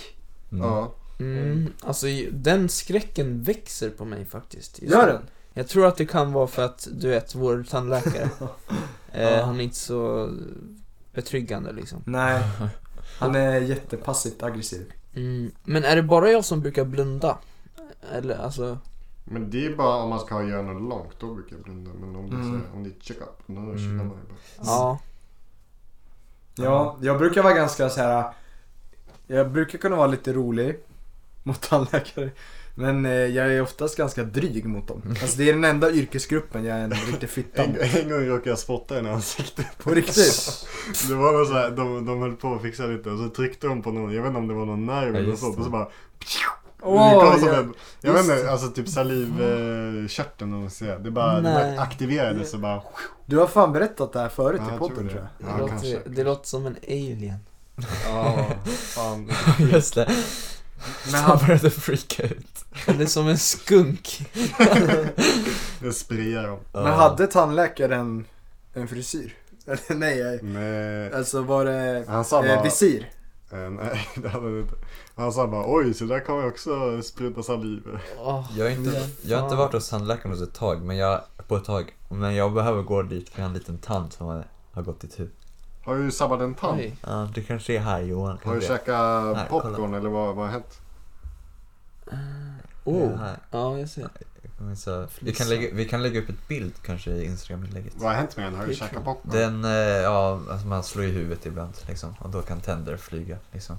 [SPEAKER 8] Mm.
[SPEAKER 5] Ja.
[SPEAKER 7] Mm, alltså den skräcken växer på mig faktiskt. just
[SPEAKER 4] Gör
[SPEAKER 7] nu.
[SPEAKER 4] den?
[SPEAKER 7] Jag tror att det kan vara för att, du vet, vår tandläkare,
[SPEAKER 4] *laughs*
[SPEAKER 7] eh, han är inte så betryggande liksom.
[SPEAKER 5] *laughs*
[SPEAKER 4] Nej. Han är jättepassivt aggressiv.
[SPEAKER 7] Mm. Men är det bara jag som brukar blunda? Eller alltså,
[SPEAKER 5] Men det är bara om man ska göra något långt, då brukar jag blunda. Men om det är,
[SPEAKER 4] Mm.
[SPEAKER 5] såhär, om det är check-up, då chillar man ju bara.
[SPEAKER 7] ja.
[SPEAKER 4] Ja, jag brukar vara ganska så här. Jag brukar kunna vara lite rolig mot tandläkare. Men eh, jag är oftast ganska dryg mot dem.
[SPEAKER 5] Mm.
[SPEAKER 4] Alltså det är den enda yrkesgruppen jag är en riktig fitta
[SPEAKER 5] En, *laughs*
[SPEAKER 4] mot.
[SPEAKER 5] en gång råkade jag spotta en i ansiktet.
[SPEAKER 4] På riktigt.
[SPEAKER 5] Det var någon så här, de, de höll på att fixa lite och så tryckte de på någon, jag vet inte om det var någon nerv
[SPEAKER 8] Ja,
[SPEAKER 5] eller
[SPEAKER 8] just
[SPEAKER 5] sånt. Och så
[SPEAKER 8] det.
[SPEAKER 5] bara...
[SPEAKER 4] Åh,
[SPEAKER 5] det kom som
[SPEAKER 4] ja,
[SPEAKER 5] en, jag vet
[SPEAKER 4] just
[SPEAKER 5] inte, alltså typ salivkörteln eller vad man ska säga. Det bara, det
[SPEAKER 7] Nej.
[SPEAKER 5] bara aktiverades och bara...
[SPEAKER 4] Du har fan berättat det här förut
[SPEAKER 5] Ja,
[SPEAKER 4] i
[SPEAKER 5] jag
[SPEAKER 4] podden
[SPEAKER 5] tror
[SPEAKER 4] tror jag.
[SPEAKER 5] det.
[SPEAKER 7] Det,
[SPEAKER 5] Ja, kanske.
[SPEAKER 7] låter, det låter som en alien. *laughs*
[SPEAKER 5] Ja, fan.
[SPEAKER 8] *laughs* Just det.
[SPEAKER 4] Men
[SPEAKER 8] Han
[SPEAKER 4] han,
[SPEAKER 8] började freaka ut.
[SPEAKER 7] Eller som en skunk.
[SPEAKER 5] Det sprider dem.
[SPEAKER 4] men hade tandläkaren en frisyr? *laughs* Eller nej,
[SPEAKER 5] Nej.
[SPEAKER 4] alltså var det
[SPEAKER 5] Han sa
[SPEAKER 4] eh,
[SPEAKER 5] bara...
[SPEAKER 4] visir?
[SPEAKER 5] Eh, nej, *laughs* det hade han inte. Han sa bara oj, så där kommer jag också spruta saliv.
[SPEAKER 7] Åh,
[SPEAKER 8] Jag har inte, jag har inte varit hos tandläkaren hos ett tag, men jag, på ett tag. Men jag behöver gå dit för jag har en liten tand som har, har gått i tur.
[SPEAKER 5] Har du sabbat en tand?
[SPEAKER 7] oj.
[SPEAKER 8] Ja, det kanske är här Johan.
[SPEAKER 5] Har du
[SPEAKER 8] kanske. Här,
[SPEAKER 5] käkat
[SPEAKER 8] kolla.
[SPEAKER 5] popcorn eller vad, vad har hänt?
[SPEAKER 8] Det är
[SPEAKER 7] Oh.
[SPEAKER 8] här.
[SPEAKER 7] Ja, jag ser.
[SPEAKER 8] Men så, vi, kan lägga, vi kan lägga upp ett bild kanske i Instagram-inlägget.
[SPEAKER 5] Vad har hänt med den? Har du
[SPEAKER 7] Det är
[SPEAKER 5] käkat
[SPEAKER 7] kul.
[SPEAKER 5] popcorn?
[SPEAKER 8] Den, eh, ja, alltså man slår i huvudet ibland liksom. Och då kan tänder flyga liksom.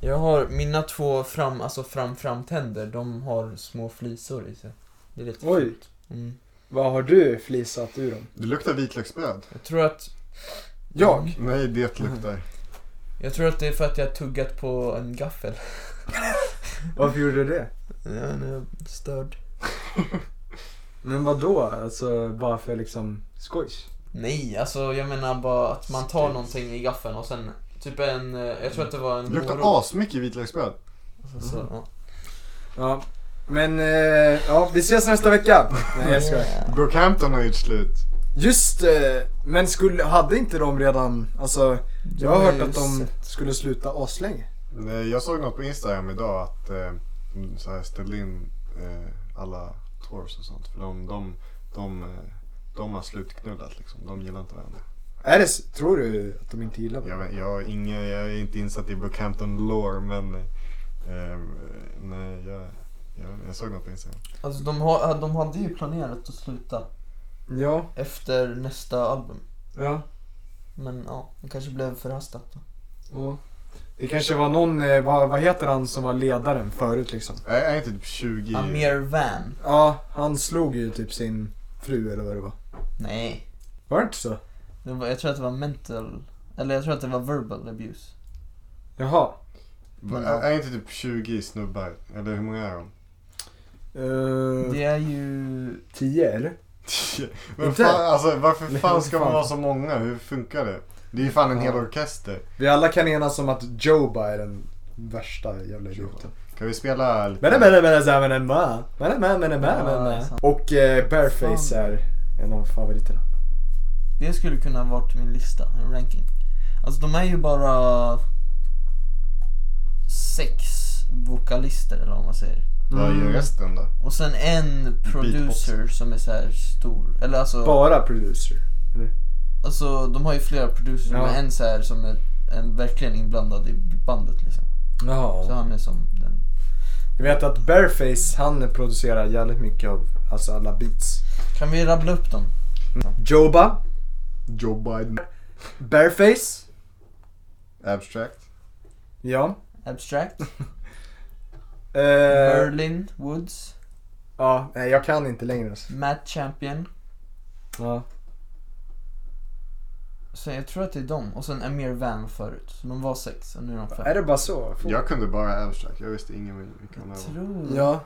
[SPEAKER 7] Jag har mina två fram, alltså fram, framtänder, de har små flisor i sig. Det är lite
[SPEAKER 4] Oj.
[SPEAKER 7] fult. Mm.
[SPEAKER 4] Vad har du flisat ur dem?
[SPEAKER 5] Det luktar vitlöksbröd.
[SPEAKER 7] Jag tror att
[SPEAKER 4] Jag?
[SPEAKER 5] Nej, det luktar.
[SPEAKER 7] Jag tror att det är för att jag har tuggat på en gaffel.
[SPEAKER 4] Varför gjorde du det?
[SPEAKER 7] Jag är störd.
[SPEAKER 4] Men vad då? Alltså bara för liksom skojs?
[SPEAKER 7] Nej, alltså jag menar bara att man tar någonting i gaffeln och sen typ en, eh, jag tror att det var en
[SPEAKER 5] Det luktar
[SPEAKER 7] morot.
[SPEAKER 5] asmycket vitlöksbröd.
[SPEAKER 7] Så- så- ja.
[SPEAKER 4] Ja. Men eh, ja, vi ses nästa vecka. *laughs* Nej jag skojar.
[SPEAKER 5] Brockhampton har gjort slut.
[SPEAKER 4] Just eh, men skulle, hade inte de redan, alltså jag har
[SPEAKER 7] har
[SPEAKER 4] hört
[SPEAKER 7] ju
[SPEAKER 4] att de skulle sluta aslänge.
[SPEAKER 5] Nej, Eh, Jag såg något på Instagram idag att eh, de så här ställde in eh, alla tours och sånt. För de, de, de, eh, de har slutknullat liksom. De gillar inte varandra.
[SPEAKER 4] Är det, s- tror du att de inte gillar
[SPEAKER 5] Jag,
[SPEAKER 4] varandra?
[SPEAKER 5] vet- jag, har ingen, jag är inte insatt i Brockhampton lore men eh, eh, nej, jag, jag, jag såg något på Instagram.
[SPEAKER 7] Alltså de, har, de hade ju planerat att sluta
[SPEAKER 4] Ja.
[SPEAKER 7] efter nästa album.
[SPEAKER 4] Ja.
[SPEAKER 7] Men ja, det kanske blev förhastat. då.
[SPEAKER 4] ja. Det kanske var någon, eh, vad, vad heter han som var ledaren förut liksom?
[SPEAKER 5] Jag är inte typ 20.
[SPEAKER 7] Amir Van.
[SPEAKER 4] Ja, han slog ju typ sin fru eller vad det var.
[SPEAKER 7] Nej.
[SPEAKER 4] Var det inte så?
[SPEAKER 7] Det var, jag tror att det var mental, eller jag tror att det var verbal abuse.
[SPEAKER 11] Jaha.
[SPEAKER 5] Va- Är är inte typ 20 snubbar? Eller hur många är de?
[SPEAKER 4] Eh,
[SPEAKER 11] det
[SPEAKER 7] är ju...
[SPEAKER 11] Tio eller?
[SPEAKER 5] Men
[SPEAKER 11] Inte?
[SPEAKER 5] fan, alltså, varför
[SPEAKER 11] Nej,
[SPEAKER 5] fan ska man
[SPEAKER 11] fan.
[SPEAKER 5] vara så många? Hur funkar det? Det är ju fan en hel
[SPEAKER 4] Ja.
[SPEAKER 5] orkester.
[SPEAKER 4] Vi alla kan enas om att Joba är den värsta jävla idioten.
[SPEAKER 5] Kan vi spela lite?
[SPEAKER 4] Men men men men men men men men men men Och eh, Bareface är en av favoriterna.
[SPEAKER 7] Det skulle kunna ha varit min lista, en ranking. Alltså de är ju bara sex vokalister eller vad man säger.
[SPEAKER 5] Vad
[SPEAKER 4] Mm.
[SPEAKER 5] gör resten då?
[SPEAKER 7] Och sen en producer som är så här stor. Eller alltså,
[SPEAKER 4] Bara producer. Eller?
[SPEAKER 7] alltså de har ju flera producers
[SPEAKER 4] Ja.
[SPEAKER 7] men en så här som är en, verkligen inblandad i bandet liksom.
[SPEAKER 4] Ja.
[SPEAKER 7] Så han är som den.
[SPEAKER 4] Jag vet att Bareface han producerar jävligt mycket av alltså alla beats.
[SPEAKER 7] Kan vi rabbla upp dem?
[SPEAKER 4] Joba,
[SPEAKER 5] Joe Biden.
[SPEAKER 4] Bareface,
[SPEAKER 5] Abstract.
[SPEAKER 4] ja.
[SPEAKER 7] Abstract,
[SPEAKER 4] Eh,
[SPEAKER 7] Merlin Woods,
[SPEAKER 4] ja, nej jag kan inte längre. Alltså.
[SPEAKER 7] Matt Champion.
[SPEAKER 4] Ja.
[SPEAKER 7] Så jag tror att det är dem. Och sen Amir Van förut. Så de var sex och nu är de fem.
[SPEAKER 4] Är det bara så? Få-
[SPEAKER 5] Jag kunde bara abstract. Jag visste ingen vilka de
[SPEAKER 7] Jag
[SPEAKER 5] var.
[SPEAKER 7] tror...
[SPEAKER 4] Ja.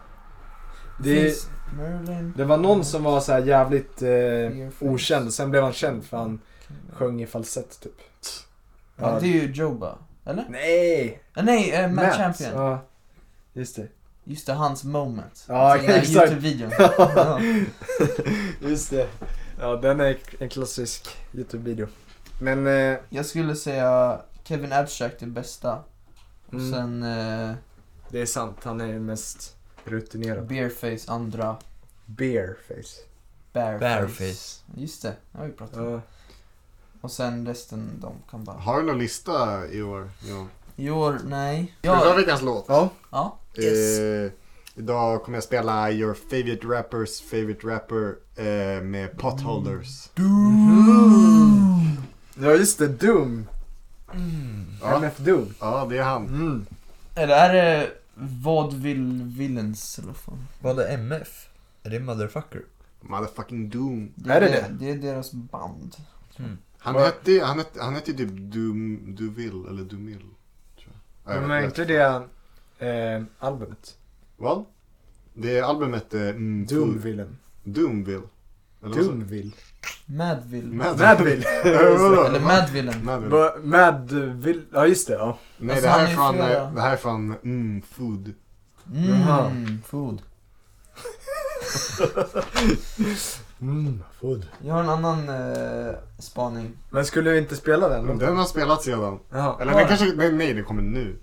[SPEAKER 4] Det,
[SPEAKER 7] Finns Merlin.
[SPEAKER 4] det var någon som var så här jävligt eh,
[SPEAKER 7] Bareface.
[SPEAKER 4] okänd, sen blev han känd för han sjöng i falsett typ.
[SPEAKER 7] Ja, det är ju Joba. Eller?
[SPEAKER 4] Nej!
[SPEAKER 7] Ah, nej, eh, Matt, Champion.
[SPEAKER 4] Ja, just det.
[SPEAKER 7] Just det, hans moment.
[SPEAKER 4] Ja,
[SPEAKER 7] Alltså, den här
[SPEAKER 4] exakt. *laughs*
[SPEAKER 7] Youtube-videon. ja.
[SPEAKER 4] Just det. Ja, den är en klassisk YouTube-video. Men... Eh,
[SPEAKER 7] Jag skulle säga Kevin Abstract är bästa. Och
[SPEAKER 4] Mm.
[SPEAKER 7] sen eh,
[SPEAKER 4] Det är sant, han är den mest rutinerad.
[SPEAKER 7] Bearface andra.
[SPEAKER 4] Bearface.
[SPEAKER 7] Bareface.
[SPEAKER 8] Bareface.
[SPEAKER 7] Just det, det har vi pratat om.
[SPEAKER 4] Ja.
[SPEAKER 7] Och sen resten, de kan bara...
[SPEAKER 5] Har du någon lista i år? Jo.
[SPEAKER 7] I år, nej.
[SPEAKER 5] Ska vi ta
[SPEAKER 7] Ja,
[SPEAKER 5] veckans låt?
[SPEAKER 4] Ja.
[SPEAKER 7] ja.
[SPEAKER 5] Eh, idag kommer jag spela Your Favorite Rappers Favorite Rapper eh, med Potholders.
[SPEAKER 4] ja, just det. Doom.
[SPEAKER 5] Mm. Ja.
[SPEAKER 4] MF Doom.
[SPEAKER 5] Ja, det är han.
[SPEAKER 4] Mm.
[SPEAKER 7] Eller är det vad vill villains eller vad fan?
[SPEAKER 8] Vad är MF? Är det motherfucker?
[SPEAKER 5] Motherfucking Doom.
[SPEAKER 4] Är det
[SPEAKER 7] det? Det är deras band.
[SPEAKER 5] Han
[SPEAKER 4] Vad-
[SPEAKER 5] hette, han hette, han hette ju typ Doom, Duville eller Dumill. tror jag. Ja, jag
[SPEAKER 4] Men är
[SPEAKER 5] vet
[SPEAKER 4] inte det eh, albumet?
[SPEAKER 5] Vad? Det albumet är mm, Doom.
[SPEAKER 4] Doomvillen.
[SPEAKER 5] Doomville. Eller vad sa-
[SPEAKER 4] Doomvill.
[SPEAKER 7] Madvill.
[SPEAKER 5] Mad- *laughs*
[SPEAKER 4] Madvill. *laughs*
[SPEAKER 7] Eller Madvillen.
[SPEAKER 5] Madvill.
[SPEAKER 4] Va- Madvill. Ja, just det. Ja.
[SPEAKER 5] Nej,
[SPEAKER 7] Alltså,
[SPEAKER 5] det här
[SPEAKER 7] han är
[SPEAKER 5] är från,
[SPEAKER 7] flera.
[SPEAKER 5] eh, det här är från mm, Food.
[SPEAKER 4] Jaha.
[SPEAKER 7] Mm, food.
[SPEAKER 4] Mm, food.
[SPEAKER 7] Jag har en annan eh, spaning.
[SPEAKER 4] Men skulle vi inte spela
[SPEAKER 5] Men
[SPEAKER 4] den?
[SPEAKER 5] Den har spelats redan.
[SPEAKER 4] Jaha.
[SPEAKER 5] Eller den kanske, nej, nej, den kommer nu.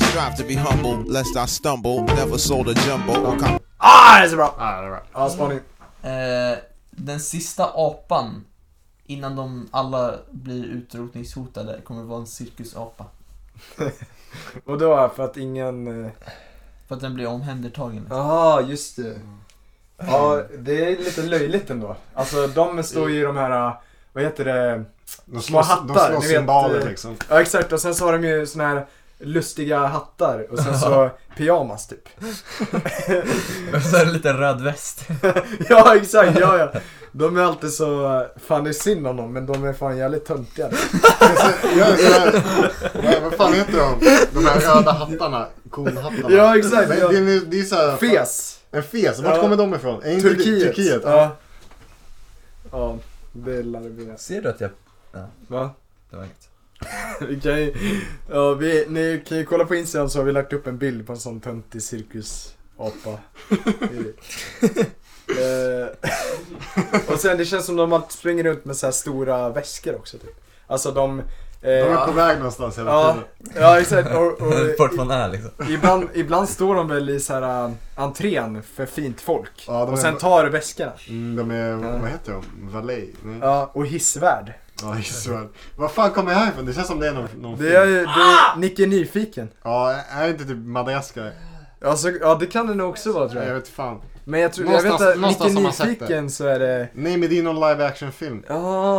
[SPEAKER 12] I strive to be humble, lest I stumble. Never sold a jumbo.
[SPEAKER 4] Ah, det är så bra!
[SPEAKER 5] Ah, det var.
[SPEAKER 4] Ja, spaning.
[SPEAKER 7] Eh, den sista apan innan de alla blir utrotningshotade kommer vara en cirkusapa.
[SPEAKER 4] Och då för att ingen... eh,
[SPEAKER 7] För att den blir omhändertagen. *laughs* liksom.
[SPEAKER 4] Jaha, just det. Ja, det är lite löjligt ändå. Alltså de står ju i de här, eh, vad heter det? Små
[SPEAKER 5] De slår,
[SPEAKER 4] hattar,
[SPEAKER 5] de slår
[SPEAKER 4] ni vet,
[SPEAKER 5] cymbaler
[SPEAKER 4] eh,
[SPEAKER 5] liksom.
[SPEAKER 4] Ja exakt, och sen så har de ju såna här lustiga hattar och sen
[SPEAKER 5] *laughs*
[SPEAKER 4] så pyjamas typ.
[SPEAKER 8] Och så är det en liten röd väst.
[SPEAKER 4] *laughs* ja exakt, ja ja. De är alltid så, eh, fan det är synd om dem men de är fan jävligt töntiga.
[SPEAKER 5] Jag är såhär, nej, vad fan heter de? De här röda hattarna, konhattarna.
[SPEAKER 4] Ja exakt,
[SPEAKER 5] Men
[SPEAKER 4] ja.
[SPEAKER 5] det är, det är såhär,
[SPEAKER 4] Fes,
[SPEAKER 5] En fes, vart
[SPEAKER 4] Ja.
[SPEAKER 5] kommer de ifrån? Är inte det-
[SPEAKER 4] Turkiet.
[SPEAKER 5] Turkiet?
[SPEAKER 4] Ja. ja, det lär det bli.
[SPEAKER 8] Ser du att jag...
[SPEAKER 4] Va? *laughs*
[SPEAKER 8] Det var inget.
[SPEAKER 4] Vi kan ju, ja, vi, ni kan ju kolla på Instagram så har vi lagt upp en bild på en sån töntig
[SPEAKER 5] *laughs*
[SPEAKER 4] cirkusapa. eh, *laughs* och sen det känns som de alltid springer runt med så här stora väskor också typ. Alltså de...
[SPEAKER 5] De
[SPEAKER 4] Eh,
[SPEAKER 5] är på väg någonstans hela
[SPEAKER 4] ja,
[SPEAKER 5] tiden.
[SPEAKER 4] ja exakt. Och, och,
[SPEAKER 5] *laughs*
[SPEAKER 8] *laughs* Vart man är liksom.
[SPEAKER 4] ibland, ibland står de väl i så här eh, entrén för fint folk.
[SPEAKER 5] Ja, de
[SPEAKER 4] och
[SPEAKER 5] är-
[SPEAKER 4] sen tar väskorna.
[SPEAKER 5] Mm, de är, vad heter de? Valet? Nej.
[SPEAKER 4] Ja, och hissvärd.
[SPEAKER 5] Ja, just det. Vad fan kommer jag härifrån? Det känns som det är någon, någon
[SPEAKER 4] Det är
[SPEAKER 5] film.
[SPEAKER 4] ju, det är, Nick är nyfiken.
[SPEAKER 5] Ja, är det inte typ Madagaskar?
[SPEAKER 4] Alltså, ja det kan det nog också vara tror
[SPEAKER 5] Jag
[SPEAKER 4] jag.
[SPEAKER 5] vet fan.
[SPEAKER 4] Men jag tror, jag vet inte,
[SPEAKER 5] någonstans
[SPEAKER 4] mycket
[SPEAKER 5] har man sett
[SPEAKER 4] nyfiken så är det...
[SPEAKER 5] Nej men det är någon live action film.
[SPEAKER 4] Ja.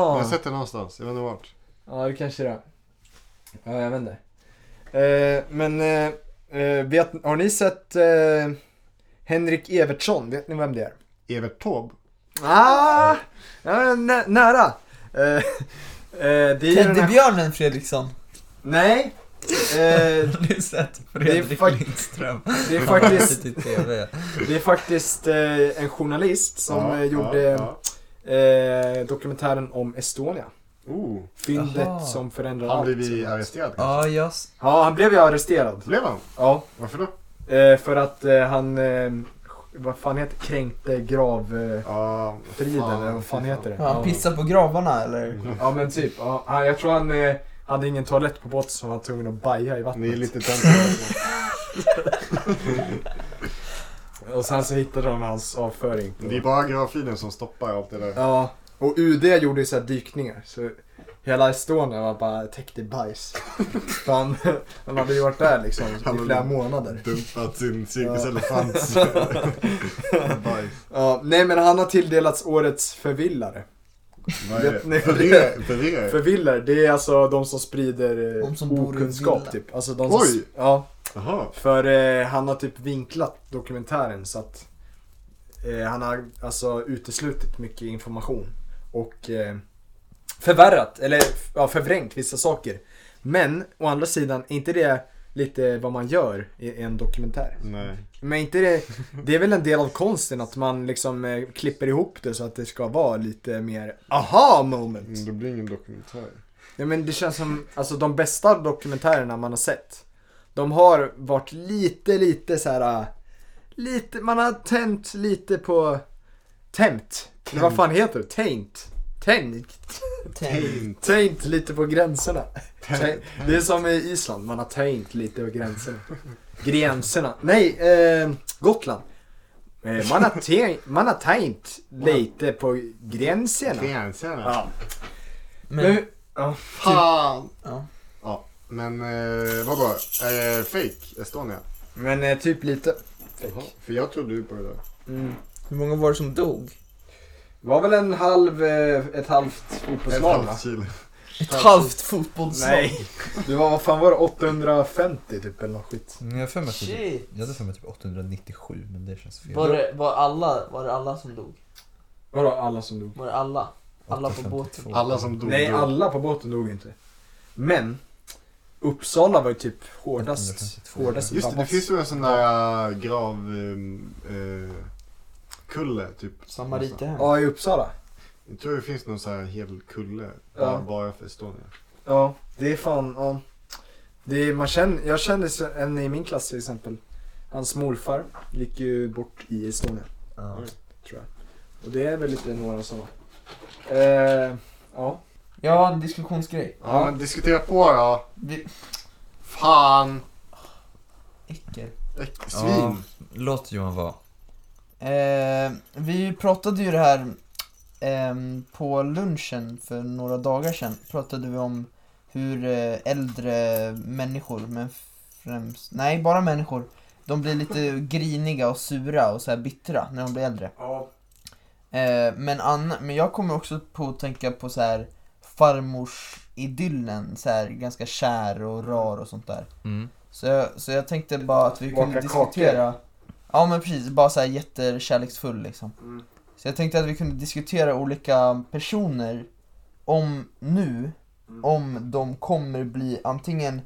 [SPEAKER 5] Jag har sett det någonstans, jag vet inte vart.
[SPEAKER 4] Ja, det kanske det är. Ja, jag vet inte. Eh, men, eh, eh, vet, har ni sett eh, Henrik Evertsson? Vet ni vem det är?
[SPEAKER 5] Evert Taube?
[SPEAKER 4] Ah, ja, nä, nära. Eh, eh, det är ju den här-
[SPEAKER 7] Teddybjörnen Fredriksson.
[SPEAKER 4] Nej. Eh,
[SPEAKER 7] Har ni sett
[SPEAKER 4] det är
[SPEAKER 7] Fredrik
[SPEAKER 4] fak-
[SPEAKER 7] Lindström?
[SPEAKER 4] Det är faktiskt,
[SPEAKER 7] I TV.
[SPEAKER 4] det är faktiskt eh, en journalist som
[SPEAKER 5] Ja,
[SPEAKER 4] eh,
[SPEAKER 5] ja,
[SPEAKER 4] gjorde Eh, dokumentären om Estonia.
[SPEAKER 5] Oh.
[SPEAKER 4] Fyndet
[SPEAKER 7] Jaha.
[SPEAKER 4] som förändrade
[SPEAKER 5] Han
[SPEAKER 4] allt.
[SPEAKER 5] blev ju arresterad kanske?
[SPEAKER 7] Ja, jag... s-
[SPEAKER 4] Ja, han blev ju arresterad.
[SPEAKER 5] Blev han?
[SPEAKER 4] Ja,
[SPEAKER 5] Varför då?
[SPEAKER 4] eh, för att eh, han, eh, vad fan heter kränkte gravfriden eh,
[SPEAKER 5] Ja,
[SPEAKER 4] friden, eller vad fan heter det?
[SPEAKER 7] Ja, han pissar på gravarna eller?
[SPEAKER 4] Ja men typ, ja, han- jag tror han eh, hade ingen toalett på båten så han var tvungen att baja i
[SPEAKER 5] Ni är
[SPEAKER 4] vattnet.
[SPEAKER 5] lite töntiga.
[SPEAKER 4] Och sen så hittade de hans avföring.
[SPEAKER 5] Det är bara gravfriden som stoppar allt det där.
[SPEAKER 4] Ja, och UD gjorde ju så här dykningar så hela Estonia var bara täckt
[SPEAKER 7] *laughs*
[SPEAKER 4] i bajs. För han, han hade ju varit där liksom i
[SPEAKER 7] *laughs*
[SPEAKER 4] flera månader.
[SPEAKER 5] Dumpat sin cirkus
[SPEAKER 4] *laughs* Ja.
[SPEAKER 5] elefants bajs.
[SPEAKER 4] Ja, nej men han har tilldelats årets förvillare.
[SPEAKER 5] Vad är
[SPEAKER 4] Vet
[SPEAKER 5] det?
[SPEAKER 4] ni-
[SPEAKER 5] För det? För det?
[SPEAKER 4] Förvillare, det är alltså de som sprider eh,
[SPEAKER 7] De som bor i
[SPEAKER 4] okunskap
[SPEAKER 7] villa.
[SPEAKER 4] typ. Alltså de som,
[SPEAKER 5] Oj!
[SPEAKER 4] Ja,
[SPEAKER 5] Jaha.
[SPEAKER 4] för eh, han har typ vinklat dokumentären så att eh, han har alltså uteslutit mycket information. Och eh, förvärrat, eller f- ja, förvrängt vissa saker. Men å andra sidan, är inte det lite vad man gör i i en dokumentär?
[SPEAKER 5] Nej.
[SPEAKER 4] Men inte det, det är väl en del av konsten att man liksom eh, klipper ihop det så att det ska vara lite mer aha moment.
[SPEAKER 5] Mm, Det blir ingen dokumentär.
[SPEAKER 4] Ja men det känns som, alltså de bästa dokumentärerna man har sett. De har varit lite, lite så här. äh, Lite, man har tänt lite på Tämt. Eller vad fan heter det? Tänkt. Tänkt.
[SPEAKER 5] Taint.
[SPEAKER 4] Tänkt lite på gränserna. Tänkt. Det är som i Island, man har tänkt lite på gränserna. Gränserna. Nej, eh, Gotland. Eh, Man har, tänkt- man har tänkt lite på gränserna.
[SPEAKER 5] Gränserna.
[SPEAKER 4] Ja. Men, Typ-
[SPEAKER 7] Men,
[SPEAKER 4] ja.
[SPEAKER 5] Fan!
[SPEAKER 7] Ja.
[SPEAKER 5] Ja. Men eh, vadå? Är det fake Estonia?
[SPEAKER 4] men eh, typ lite.
[SPEAKER 5] Jaha. För jag trodde ju på det där.
[SPEAKER 7] hur många var det som dog?
[SPEAKER 4] var väl en halv, eh, ett halvt fotbollslag va?
[SPEAKER 5] halvt kilo.
[SPEAKER 7] Ett halvt fotbollslag?
[SPEAKER 4] Nej. Det var, vad fan var det, 850 typ eller något skit.
[SPEAKER 8] Jag har för mig att det-
[SPEAKER 7] Shit.
[SPEAKER 8] jag hade för mig typ 897 men det känns fel.
[SPEAKER 7] Var det, var, alla, var det alla som dog?
[SPEAKER 4] Vadå alla som dog?
[SPEAKER 7] Var det alla? Alla på båten?
[SPEAKER 5] Alla som dog.
[SPEAKER 4] Nej
[SPEAKER 5] dog.
[SPEAKER 4] alla på båten dog inte. Men Uppsala var ju typ hårdast,
[SPEAKER 8] 152.
[SPEAKER 4] hårdast
[SPEAKER 5] Just det, det
[SPEAKER 4] drabbas.
[SPEAKER 5] finns ju en sån där äh, grav... eh, eh, kulle, typ.
[SPEAKER 7] Samariterhem?
[SPEAKER 4] Ja i Uppsala.
[SPEAKER 5] Jag tror det finns någon sån här hel kulle.
[SPEAKER 4] Ja.
[SPEAKER 5] Bara, bara för Estonia.
[SPEAKER 4] Ja, det är fan, ja. Det är, man känner, jag kände så- en i min klass till exempel. Hans morfar gick ju bort i Estonia.
[SPEAKER 8] Ja.
[SPEAKER 7] Mm.
[SPEAKER 4] Tror jag. Och det är väl lite några som... Eh, ja.
[SPEAKER 7] Jag har en diskussionsgrej.
[SPEAKER 5] Ja, men diskutera på då.
[SPEAKER 7] Vi...
[SPEAKER 5] Fan!
[SPEAKER 7] Äckel.
[SPEAKER 5] Äck-
[SPEAKER 8] Ja,
[SPEAKER 5] Svin!
[SPEAKER 8] låt Johan vara.
[SPEAKER 7] Eh, vi pratade ju det här ehm, på lunchen för några dagar sedan. Pratade vi om hur eh, äldre människor, men främst, nej bara människor, de blir lite griniga och sura och så här bittra när de blir äldre.
[SPEAKER 4] Ja.
[SPEAKER 7] Eh, men, anna, men jag kommer också på att tänka på så här farmors idyllen, så här ganska kär och rar och sånt där.
[SPEAKER 8] Mm.
[SPEAKER 7] Så jag, så jag tänkte bara att vi
[SPEAKER 4] Baka
[SPEAKER 7] kunde
[SPEAKER 4] kakor.
[SPEAKER 7] diskutera Ja men precis, bara såhär jättekärleksfull liksom
[SPEAKER 4] Mm.
[SPEAKER 7] Så jag tänkte att vi kunde diskutera olika personer Om nu,
[SPEAKER 4] Mm.
[SPEAKER 7] om de kommer bli antingen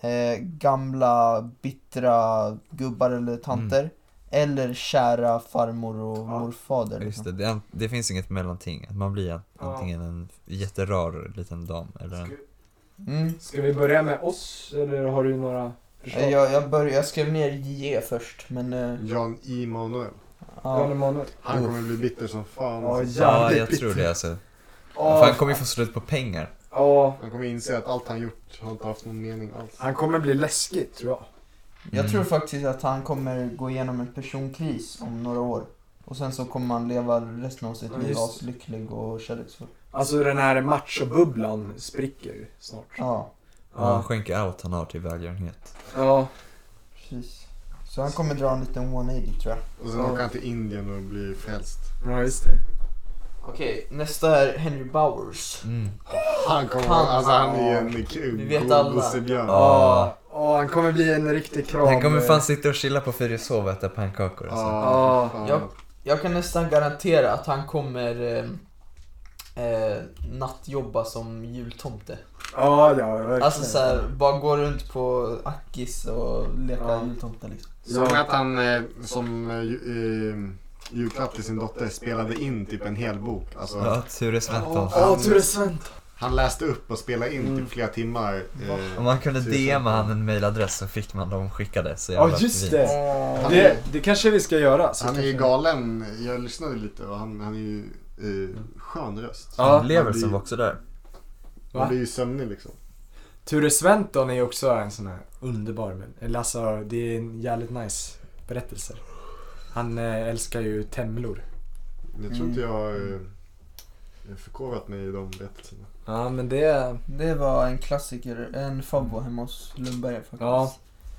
[SPEAKER 7] eh, gamla bittra gubbar eller tanter Eller kära farmor och morfader
[SPEAKER 8] Just
[SPEAKER 7] liksom.
[SPEAKER 8] det, det, är an- det finns inget mellanting. Att man blir an- antingen en jätterar liten dam eller en...
[SPEAKER 7] mm.
[SPEAKER 4] Ska vi börja med oss eller har du några förslag?
[SPEAKER 7] Eh, jag, jag, började, jag skrev ner JE först men... Eh,
[SPEAKER 5] Jan Immanuel.
[SPEAKER 4] Jan
[SPEAKER 7] ja.
[SPEAKER 4] Emanuel.
[SPEAKER 5] Han kommer bli bitter som fan.
[SPEAKER 4] Ja,
[SPEAKER 5] alltså.
[SPEAKER 8] Ja,
[SPEAKER 4] jävligt
[SPEAKER 8] jag tror det alltså.
[SPEAKER 4] Ja,
[SPEAKER 8] För han kommer ju få slut på pengar.
[SPEAKER 4] ja,
[SPEAKER 5] Han kommer inse att allt han gjort har inte haft någon mening alls.
[SPEAKER 4] han kommer bli läskig tror jag.
[SPEAKER 7] Jag
[SPEAKER 8] Mm.
[SPEAKER 7] tror faktiskt att han kommer gå igenom en personkris om några år. Och sen så kommer han leva resten av sitt
[SPEAKER 4] Ja,
[SPEAKER 7] liv
[SPEAKER 4] just det.
[SPEAKER 7] aslycklig och kärleksfull.
[SPEAKER 4] Alltså den här machobubblan spricker snart.
[SPEAKER 7] Ja,
[SPEAKER 8] Och han skänker allt han har till välgörenhet.
[SPEAKER 4] ja.
[SPEAKER 7] precis. Så han kommer dra en liten 180 tror jag.
[SPEAKER 5] Och sen åker han till Indien och blir frälst.
[SPEAKER 7] Ja, just det. Okej, nästa är Henry Bowers.
[SPEAKER 5] Han kommer, alltså han är en kul
[SPEAKER 7] Vi vet
[SPEAKER 5] god
[SPEAKER 7] alla.
[SPEAKER 5] gossebjörn.
[SPEAKER 8] Ja.
[SPEAKER 13] Åh, han kommer bli en riktig kram.
[SPEAKER 8] Han kommer fan sitta och chilla på Fyrishov och äta pannkakor. Alltså.
[SPEAKER 7] Ja, jag, jag kan nästan garantera att han kommer eh, eh, nattjobba som jultomte.
[SPEAKER 13] Ja, ja, verkligen.
[SPEAKER 7] Alltså såhär, bara gå runt på Ackis och leka jultomte liksom.
[SPEAKER 5] Som att han eh, som eh, ju- eh, julklapp till sin dotter spelade in typ en hel bok. Alltså,
[SPEAKER 8] Ja, Ture Sventon.
[SPEAKER 5] Han-
[SPEAKER 8] Ja, Ture
[SPEAKER 13] Sventon.
[SPEAKER 5] Han läste upp och spelade in typ flera timmar. eh,
[SPEAKER 8] Om man kunde
[SPEAKER 5] Ture
[SPEAKER 8] DMa
[SPEAKER 5] Sventon.
[SPEAKER 8] han en mailadress så fick man dem skickade. Så
[SPEAKER 5] Ja,
[SPEAKER 8] jävla
[SPEAKER 5] just
[SPEAKER 8] fint.
[SPEAKER 5] det.
[SPEAKER 4] Det, det kanske vi ska göra. Så
[SPEAKER 5] Han är
[SPEAKER 4] kanske-
[SPEAKER 5] ju galen. Jag lyssnade lite och han, han är ju eh, skön röst.
[SPEAKER 4] Ja.
[SPEAKER 5] Man
[SPEAKER 4] Lever
[SPEAKER 5] blir-
[SPEAKER 4] som
[SPEAKER 8] också där.
[SPEAKER 5] Man blir ju sömnig liksom.
[SPEAKER 4] Ture Sventon är också en sån här underbar men, eller alltså det är en jävligt nice berättelse. Han eh, älskar ju temlor.
[SPEAKER 5] Jag tror inte jag har
[SPEAKER 7] Mm.
[SPEAKER 5] eh, förkovrat mig i de berättelserna.
[SPEAKER 4] Ja men det...
[SPEAKER 7] Det var en klassiker, en fabbo hemma hos Lundberg faktiskt.
[SPEAKER 4] Ja.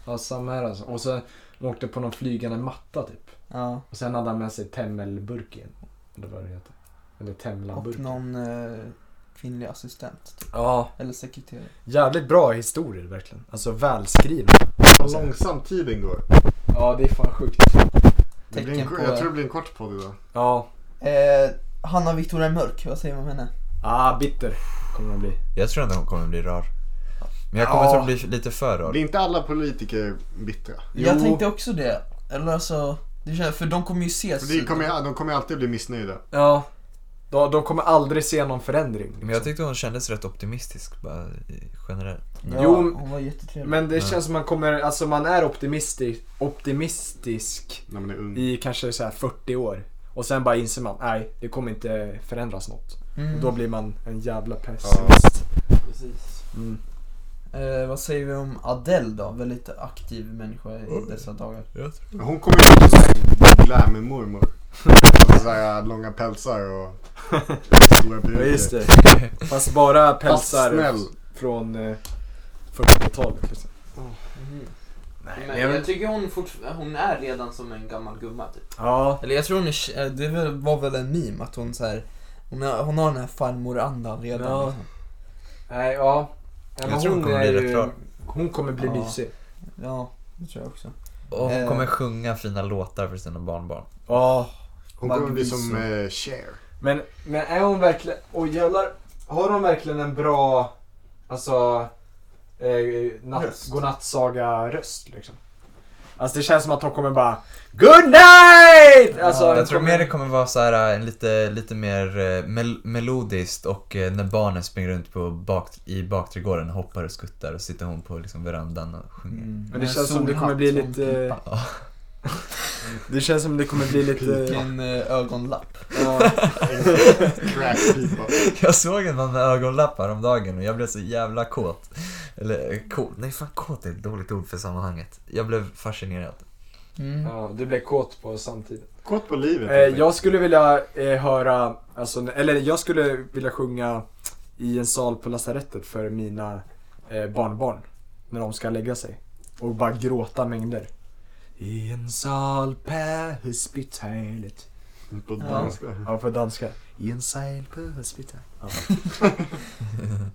[SPEAKER 4] ja, samma här alltså. Och sen de åkte på någon flygande matta typ.
[SPEAKER 7] Ja.
[SPEAKER 4] Och sen hade han med sig temmelburken. Eller vad det heter. Eller
[SPEAKER 7] Och
[SPEAKER 4] temlanburken.
[SPEAKER 7] någon eh, kvinnlig assistent. Typ.
[SPEAKER 4] Ja.
[SPEAKER 7] Eller sekreterare.
[SPEAKER 4] Jävligt bra historier verkligen. Alltså välskrivna.
[SPEAKER 5] Vad långsamt tiden går.
[SPEAKER 4] Ja det är fan sjukt.
[SPEAKER 5] Det blir en,
[SPEAKER 7] Tecken
[SPEAKER 5] ko-
[SPEAKER 7] på-
[SPEAKER 5] jag tror det blir en kort podd idag.
[SPEAKER 4] Ja.
[SPEAKER 7] Eh, Hanna Victoria Mörk, vad säger man om henne?
[SPEAKER 4] Ah, bitter kommer hon bli.
[SPEAKER 8] Jag tror ändå hon kommer bli rar. Men jag kommer
[SPEAKER 7] Ja.
[SPEAKER 8] tro att bli lite för rar.
[SPEAKER 5] Blir inte alla politiker bittra?
[SPEAKER 7] Jag tänkte också det. Eller alltså, det känns, för de kommer ju ses.
[SPEAKER 5] För det kommer, ju- de kommer ju alltid bli missnöjda.
[SPEAKER 4] Ja. De, de kommer aldrig se någon förändring. liksom.
[SPEAKER 8] Men jag tyckte hon kändes rätt optimistisk bara i- generellt.
[SPEAKER 7] Ja,
[SPEAKER 4] Jo,
[SPEAKER 7] hon var jättetrevlig.
[SPEAKER 4] Men det
[SPEAKER 8] Ja.
[SPEAKER 4] känns som man kommer, alltså man är optimistisk, optimistisk
[SPEAKER 5] När man är ung.
[SPEAKER 4] i kanske så här 40 år. Och sen bara inser man, nej det kommer inte förändras något.
[SPEAKER 7] Mm.
[SPEAKER 4] Och då blir man en jävla pessimist.
[SPEAKER 7] Precis.
[SPEAKER 4] Mm.
[SPEAKER 7] Eh, vad säger vi om Adele då? Väldigt aktiv människa i dessa dagar.
[SPEAKER 4] Mm.
[SPEAKER 5] Hon kommer ju bli såhär glamour-mormor. Alltså Såhär långa pälsar och
[SPEAKER 4] *laughs*
[SPEAKER 5] stora
[SPEAKER 4] Ja,
[SPEAKER 5] brudar.
[SPEAKER 4] just det. Fast bara pälsar
[SPEAKER 5] snäll.
[SPEAKER 4] från eh, 40-talet liksom.
[SPEAKER 7] Nej,
[SPEAKER 4] men jag vet-
[SPEAKER 7] Mm. tycker hon, fortfar- hon är redan som en gammal gumma typ.
[SPEAKER 4] Ja,
[SPEAKER 7] Eller jag tror hon är, eh, det väl- var väl en meme att hon så här, hon, har, hon har den här farmor-andan redan.
[SPEAKER 4] Ja.
[SPEAKER 7] liksom.
[SPEAKER 4] nej ja.
[SPEAKER 8] Jag tror hon kommer
[SPEAKER 4] är
[SPEAKER 8] bli
[SPEAKER 4] ju-
[SPEAKER 8] rätt klar.
[SPEAKER 4] Hon kommer bli
[SPEAKER 7] Ja.
[SPEAKER 4] mysig.
[SPEAKER 7] ja, det tror jag också.
[SPEAKER 8] Och hon
[SPEAKER 7] Eh.
[SPEAKER 8] kommer sjunga fina låtar för sina barnbarn.
[SPEAKER 4] Ja.
[SPEAKER 5] Hon
[SPEAKER 4] Man
[SPEAKER 5] kommer bli
[SPEAKER 4] blir
[SPEAKER 5] som
[SPEAKER 4] så-
[SPEAKER 5] eh, Cher.
[SPEAKER 4] Men, men är hon verkligen, och jävlar, har hon verkligen en bra, alltså, eh, natt,
[SPEAKER 7] Röst.
[SPEAKER 4] godnattsaga-röst liksom? Alltså det känns som att hon kommer bara Good night! Alltså,
[SPEAKER 8] jag tror
[SPEAKER 4] kommer-
[SPEAKER 8] mer det kommer vara så här eh, en lite, lite mer eh, mel- melodiskt och eh, när barnen springer runt på bak, i bakträdgården och hoppar och skuttar och sitter hon på liksom verandan och sjunger.
[SPEAKER 5] Mm.
[SPEAKER 4] Men det känns som det kommer bli lite... *laughs* Det känns som det kommer bli lite...
[SPEAKER 7] Vilken eh, ögonlapp.
[SPEAKER 4] Ja,
[SPEAKER 5] Crackpipa.
[SPEAKER 8] *laughs* Jag såg en man med ögonlapp häromdagen och jag blev så jävla kåt. Eller eh, kåt, nej fan kåt är ett dåligt ord för sammanhanget. Jag
[SPEAKER 5] *laughs*
[SPEAKER 8] blev fascinerad.
[SPEAKER 7] Mm.
[SPEAKER 4] ja, du blev kåt på samtidigt.
[SPEAKER 5] Kort på livet.
[SPEAKER 4] Eh, jag skulle vilja eh, höra, alltså, eller jag skulle vilja sjunga i en sal på lasarettet för mina eh, barnbarn. När de ska lägga sig. Och bara gråta mängder. I en sal på hospitalet.
[SPEAKER 5] På danska.
[SPEAKER 4] Ja, på danska. I en sal på hospitalet. *laughs*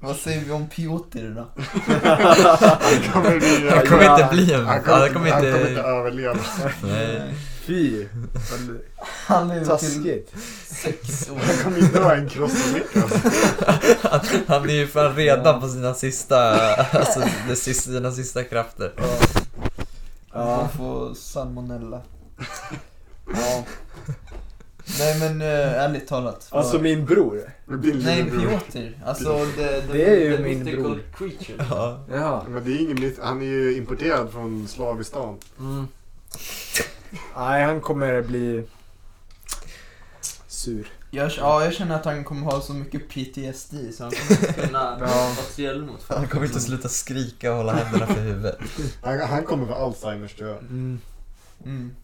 [SPEAKER 7] Vad säger vi om Piotr då?
[SPEAKER 5] Han kommer, bli,
[SPEAKER 8] Han kommer inte bli en...
[SPEAKER 5] han
[SPEAKER 8] Han
[SPEAKER 5] kommer,
[SPEAKER 8] kommer,
[SPEAKER 5] inte, han kommer inte
[SPEAKER 8] inte...
[SPEAKER 5] överleva.
[SPEAKER 8] Nej.
[SPEAKER 4] Fy!
[SPEAKER 7] *laughs* Han är ju till
[SPEAKER 4] Taskigt.
[SPEAKER 7] sex år.
[SPEAKER 5] Han kommer ju dö en crossolycka.
[SPEAKER 8] Han, *laughs* han är ju fan redan på sina sista... *laughs* Alltså, de sista, sina sista krafter.
[SPEAKER 7] Han får *laughs* salmonella. Ja. Nej men eh, ärligt talat. vad-
[SPEAKER 4] Alltså min bror.
[SPEAKER 5] Det blir
[SPEAKER 7] Nej,
[SPEAKER 5] lillebror.
[SPEAKER 7] Piotr. Alltså det,
[SPEAKER 4] Det är ju min
[SPEAKER 7] mystical
[SPEAKER 4] bror.
[SPEAKER 7] creature.
[SPEAKER 8] Ja.
[SPEAKER 4] Ja.
[SPEAKER 5] Men det är ingen myt. Han är ju importerad från Slavistan.
[SPEAKER 4] Mm. Nej, han kommer bli sur.
[SPEAKER 7] Jag, ja, jag känner att han kommer ha så mycket PTSD så han kommer inte
[SPEAKER 4] *laughs*
[SPEAKER 7] kunna vara trevlig mot folk.
[SPEAKER 8] Han kommer inte sluta skrika och hålla händerna för huvudet.
[SPEAKER 5] Han, han kommer få Alzheimers tror jag.
[SPEAKER 7] Mm.
[SPEAKER 8] *laughs*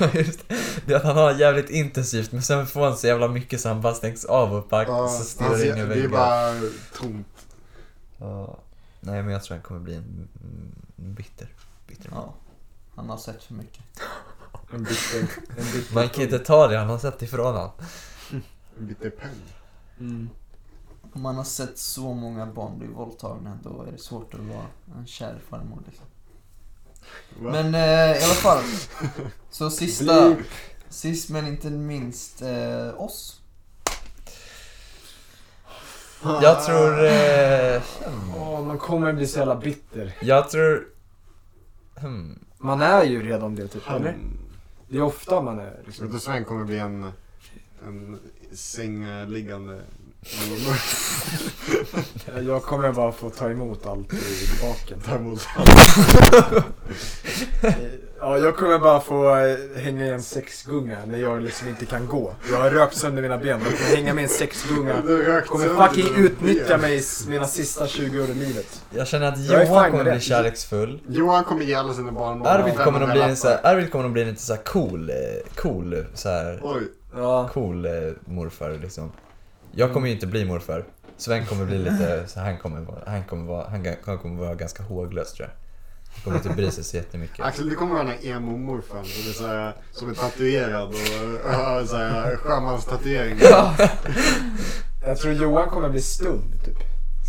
[SPEAKER 8] Ja, Just det. det är att han har jävligt intensivt men sen får han så jävla mycket så han bara stängs av och bara
[SPEAKER 5] Ja,
[SPEAKER 8] så
[SPEAKER 5] han
[SPEAKER 8] stirrar
[SPEAKER 5] ser-
[SPEAKER 8] in i
[SPEAKER 5] det är
[SPEAKER 8] väggen.
[SPEAKER 5] bara tomt.
[SPEAKER 8] Ja. Nej men jag tror han kommer bli en mm, bitter. Bitter man.
[SPEAKER 7] Ja. Han har sett för mycket.
[SPEAKER 8] En bitter- en bitter Man kan inte ta det, han har sett
[SPEAKER 5] *laughs*
[SPEAKER 8] ifrån han.
[SPEAKER 5] En bitter pung.
[SPEAKER 7] Mm. Om man har sett så många barn bli våldtagna då är det svårt att vara en kär farmor liksom.
[SPEAKER 5] Va?
[SPEAKER 7] Men eh, i alla fall. Så sista,
[SPEAKER 5] Bleep.
[SPEAKER 7] sist men inte minst eh, oss.
[SPEAKER 8] Jag tror... Eh,
[SPEAKER 4] Åh, man kommer bli så jävla bitter.
[SPEAKER 8] Jag tror... Hmm.
[SPEAKER 4] Man är ju redan det typ,
[SPEAKER 5] Han-
[SPEAKER 4] eller? Det är ofta man är
[SPEAKER 5] Liksom. *laughs* Vet du, Sven kommer bli en, en sängliggande mormor.
[SPEAKER 4] Jag kommer bara få ta emot allt i baken.
[SPEAKER 5] Ta emot
[SPEAKER 4] *laughs* ja, jag kommer bara få eh, hänga i en sexgunga när jag liksom inte kan gå. Jag har rökt sönder mina ben. Jag kommer hänga med i en sexgunga.
[SPEAKER 5] Du har rökt
[SPEAKER 4] Kommer
[SPEAKER 5] sönder
[SPEAKER 4] fucking
[SPEAKER 5] dina
[SPEAKER 4] utnyttja
[SPEAKER 5] ben.
[SPEAKER 4] mig s- mina sista 20 år i livet.
[SPEAKER 8] Jag känner att
[SPEAKER 4] Jag är
[SPEAKER 8] Johan
[SPEAKER 4] fine
[SPEAKER 8] kommer
[SPEAKER 4] med
[SPEAKER 8] bli
[SPEAKER 4] det.
[SPEAKER 8] kärleksfull.
[SPEAKER 5] Johan kommer ge alla sina barnbarn
[SPEAKER 8] Arvid kommer att bli en
[SPEAKER 5] lappar.
[SPEAKER 8] så här, Arvid kommer att bli en lite så här cool, eh, cool så här,
[SPEAKER 5] Oj.
[SPEAKER 8] cool eh, morfar liksom. Jag kommer ju inte bli morfar. Sven kommer bli lite, så han kommer vara, han kommer vara, han, ga- han kommer vara ganska håglös tror jag. Han kommer inte bry sig så jättemycket.
[SPEAKER 5] Axel, du kommer vara den här emo-morfaren som är, så här, som är tatuerad och har så här sjömanstatuering.
[SPEAKER 4] Jag tror Johan kommer bli stum,
[SPEAKER 5] *laughs*
[SPEAKER 4] typ.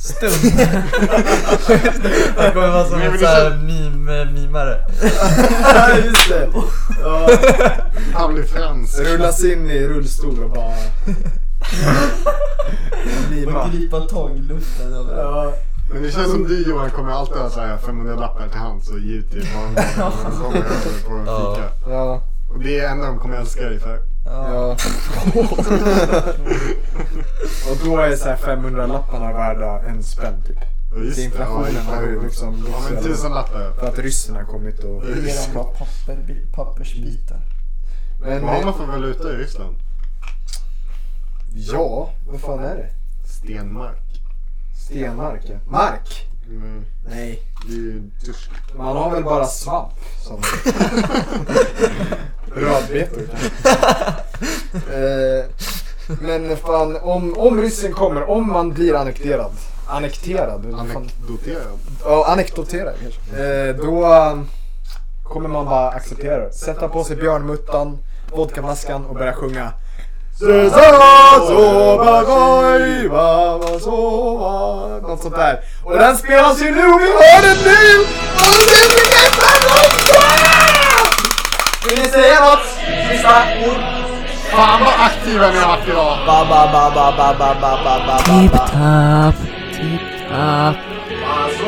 [SPEAKER 8] Stum? *laughs* Han kommer vara som en sån här
[SPEAKER 3] eh,
[SPEAKER 8] meme, mimare.
[SPEAKER 4] Ja, just det. Ja.
[SPEAKER 5] Han blir frans.
[SPEAKER 4] Rullas in i rullstol och
[SPEAKER 5] *laughs*
[SPEAKER 4] bara... Mima.
[SPEAKER 7] Och gripa tag i luften
[SPEAKER 4] Ja.
[SPEAKER 5] Men det känns som du Johan kommer alltid ha så här 500 lappar till hands och ge ut till barnbarnen när de kommer över på en
[SPEAKER 8] Ja.
[SPEAKER 5] fika. Och det är det enda de kommer älska dig för.
[SPEAKER 4] Ja. *laughs* och då är så här 500 lapparna värda en spänn typ.
[SPEAKER 5] Ja, just
[SPEAKER 4] Så
[SPEAKER 5] det.
[SPEAKER 4] inflationen
[SPEAKER 5] Ja,
[SPEAKER 4] har ju liksom...
[SPEAKER 5] Ja, men tusenlappar.
[SPEAKER 4] För att ryssen har kommit och...
[SPEAKER 7] Mer än bara papper, pappersbitar.
[SPEAKER 4] Men- eh,
[SPEAKER 5] Vad har man för valuta i Ryssland?
[SPEAKER 4] Ja, vad fan är det?
[SPEAKER 5] Stenmark.
[SPEAKER 4] Stenmark ja. Mark?
[SPEAKER 5] Mm.
[SPEAKER 4] Nej.
[SPEAKER 5] Det är ju dusch.
[SPEAKER 4] Man har väl bara svamp som... *laughs* Rödbetor *laughs* eh, Men fan, om, om ryssen kommer, om man blir annekterad. Annekterad? eller vad fan-
[SPEAKER 5] Anekdoterad.
[SPEAKER 4] Ja, anekdotera kanske. Eh, då eh, kommer man bara acceptera det. Sätta på sig björnmuttan, vodkaflaskan och börja sjunga. Något sånt där. Och den spelas ju nu och vi hör den nu! Och nu blir det fantastiskt! Vill ni säga något? Sista ord?
[SPEAKER 5] Fan vad aktiva ni har varit idag!
[SPEAKER 7] Ba, ba, ba, ba, ba, ba, ba, ba, ba, ba, ba.
[SPEAKER 3] Tipp-tapp, tipp-tapp.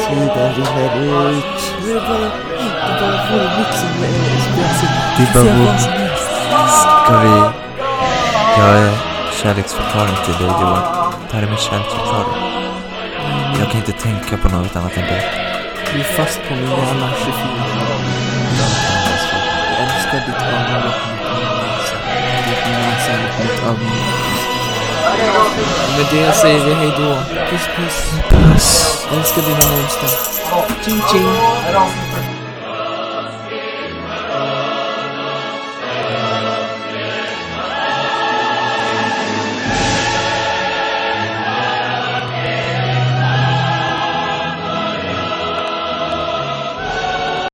[SPEAKER 3] Tiden rinner ut. Nu är det bara, inte bara vår mix som är spjäsig.
[SPEAKER 8] Dippa mot. Ska vi... Jag är kärleksförklaring till dig Johan. Det här är min kärleksförklaring. Jag kan inte tänka på något annat än dig.
[SPEAKER 3] Du är fast på min hjärna 24 Jag älskar ditt ögonlock mot min näsa. Ditt näsa mot mitt ögonlock. Med det säger vi hej då. Puss puss. Puss. Älskar dina namnsdag. Ching ching.
[SPEAKER 4] Hej då.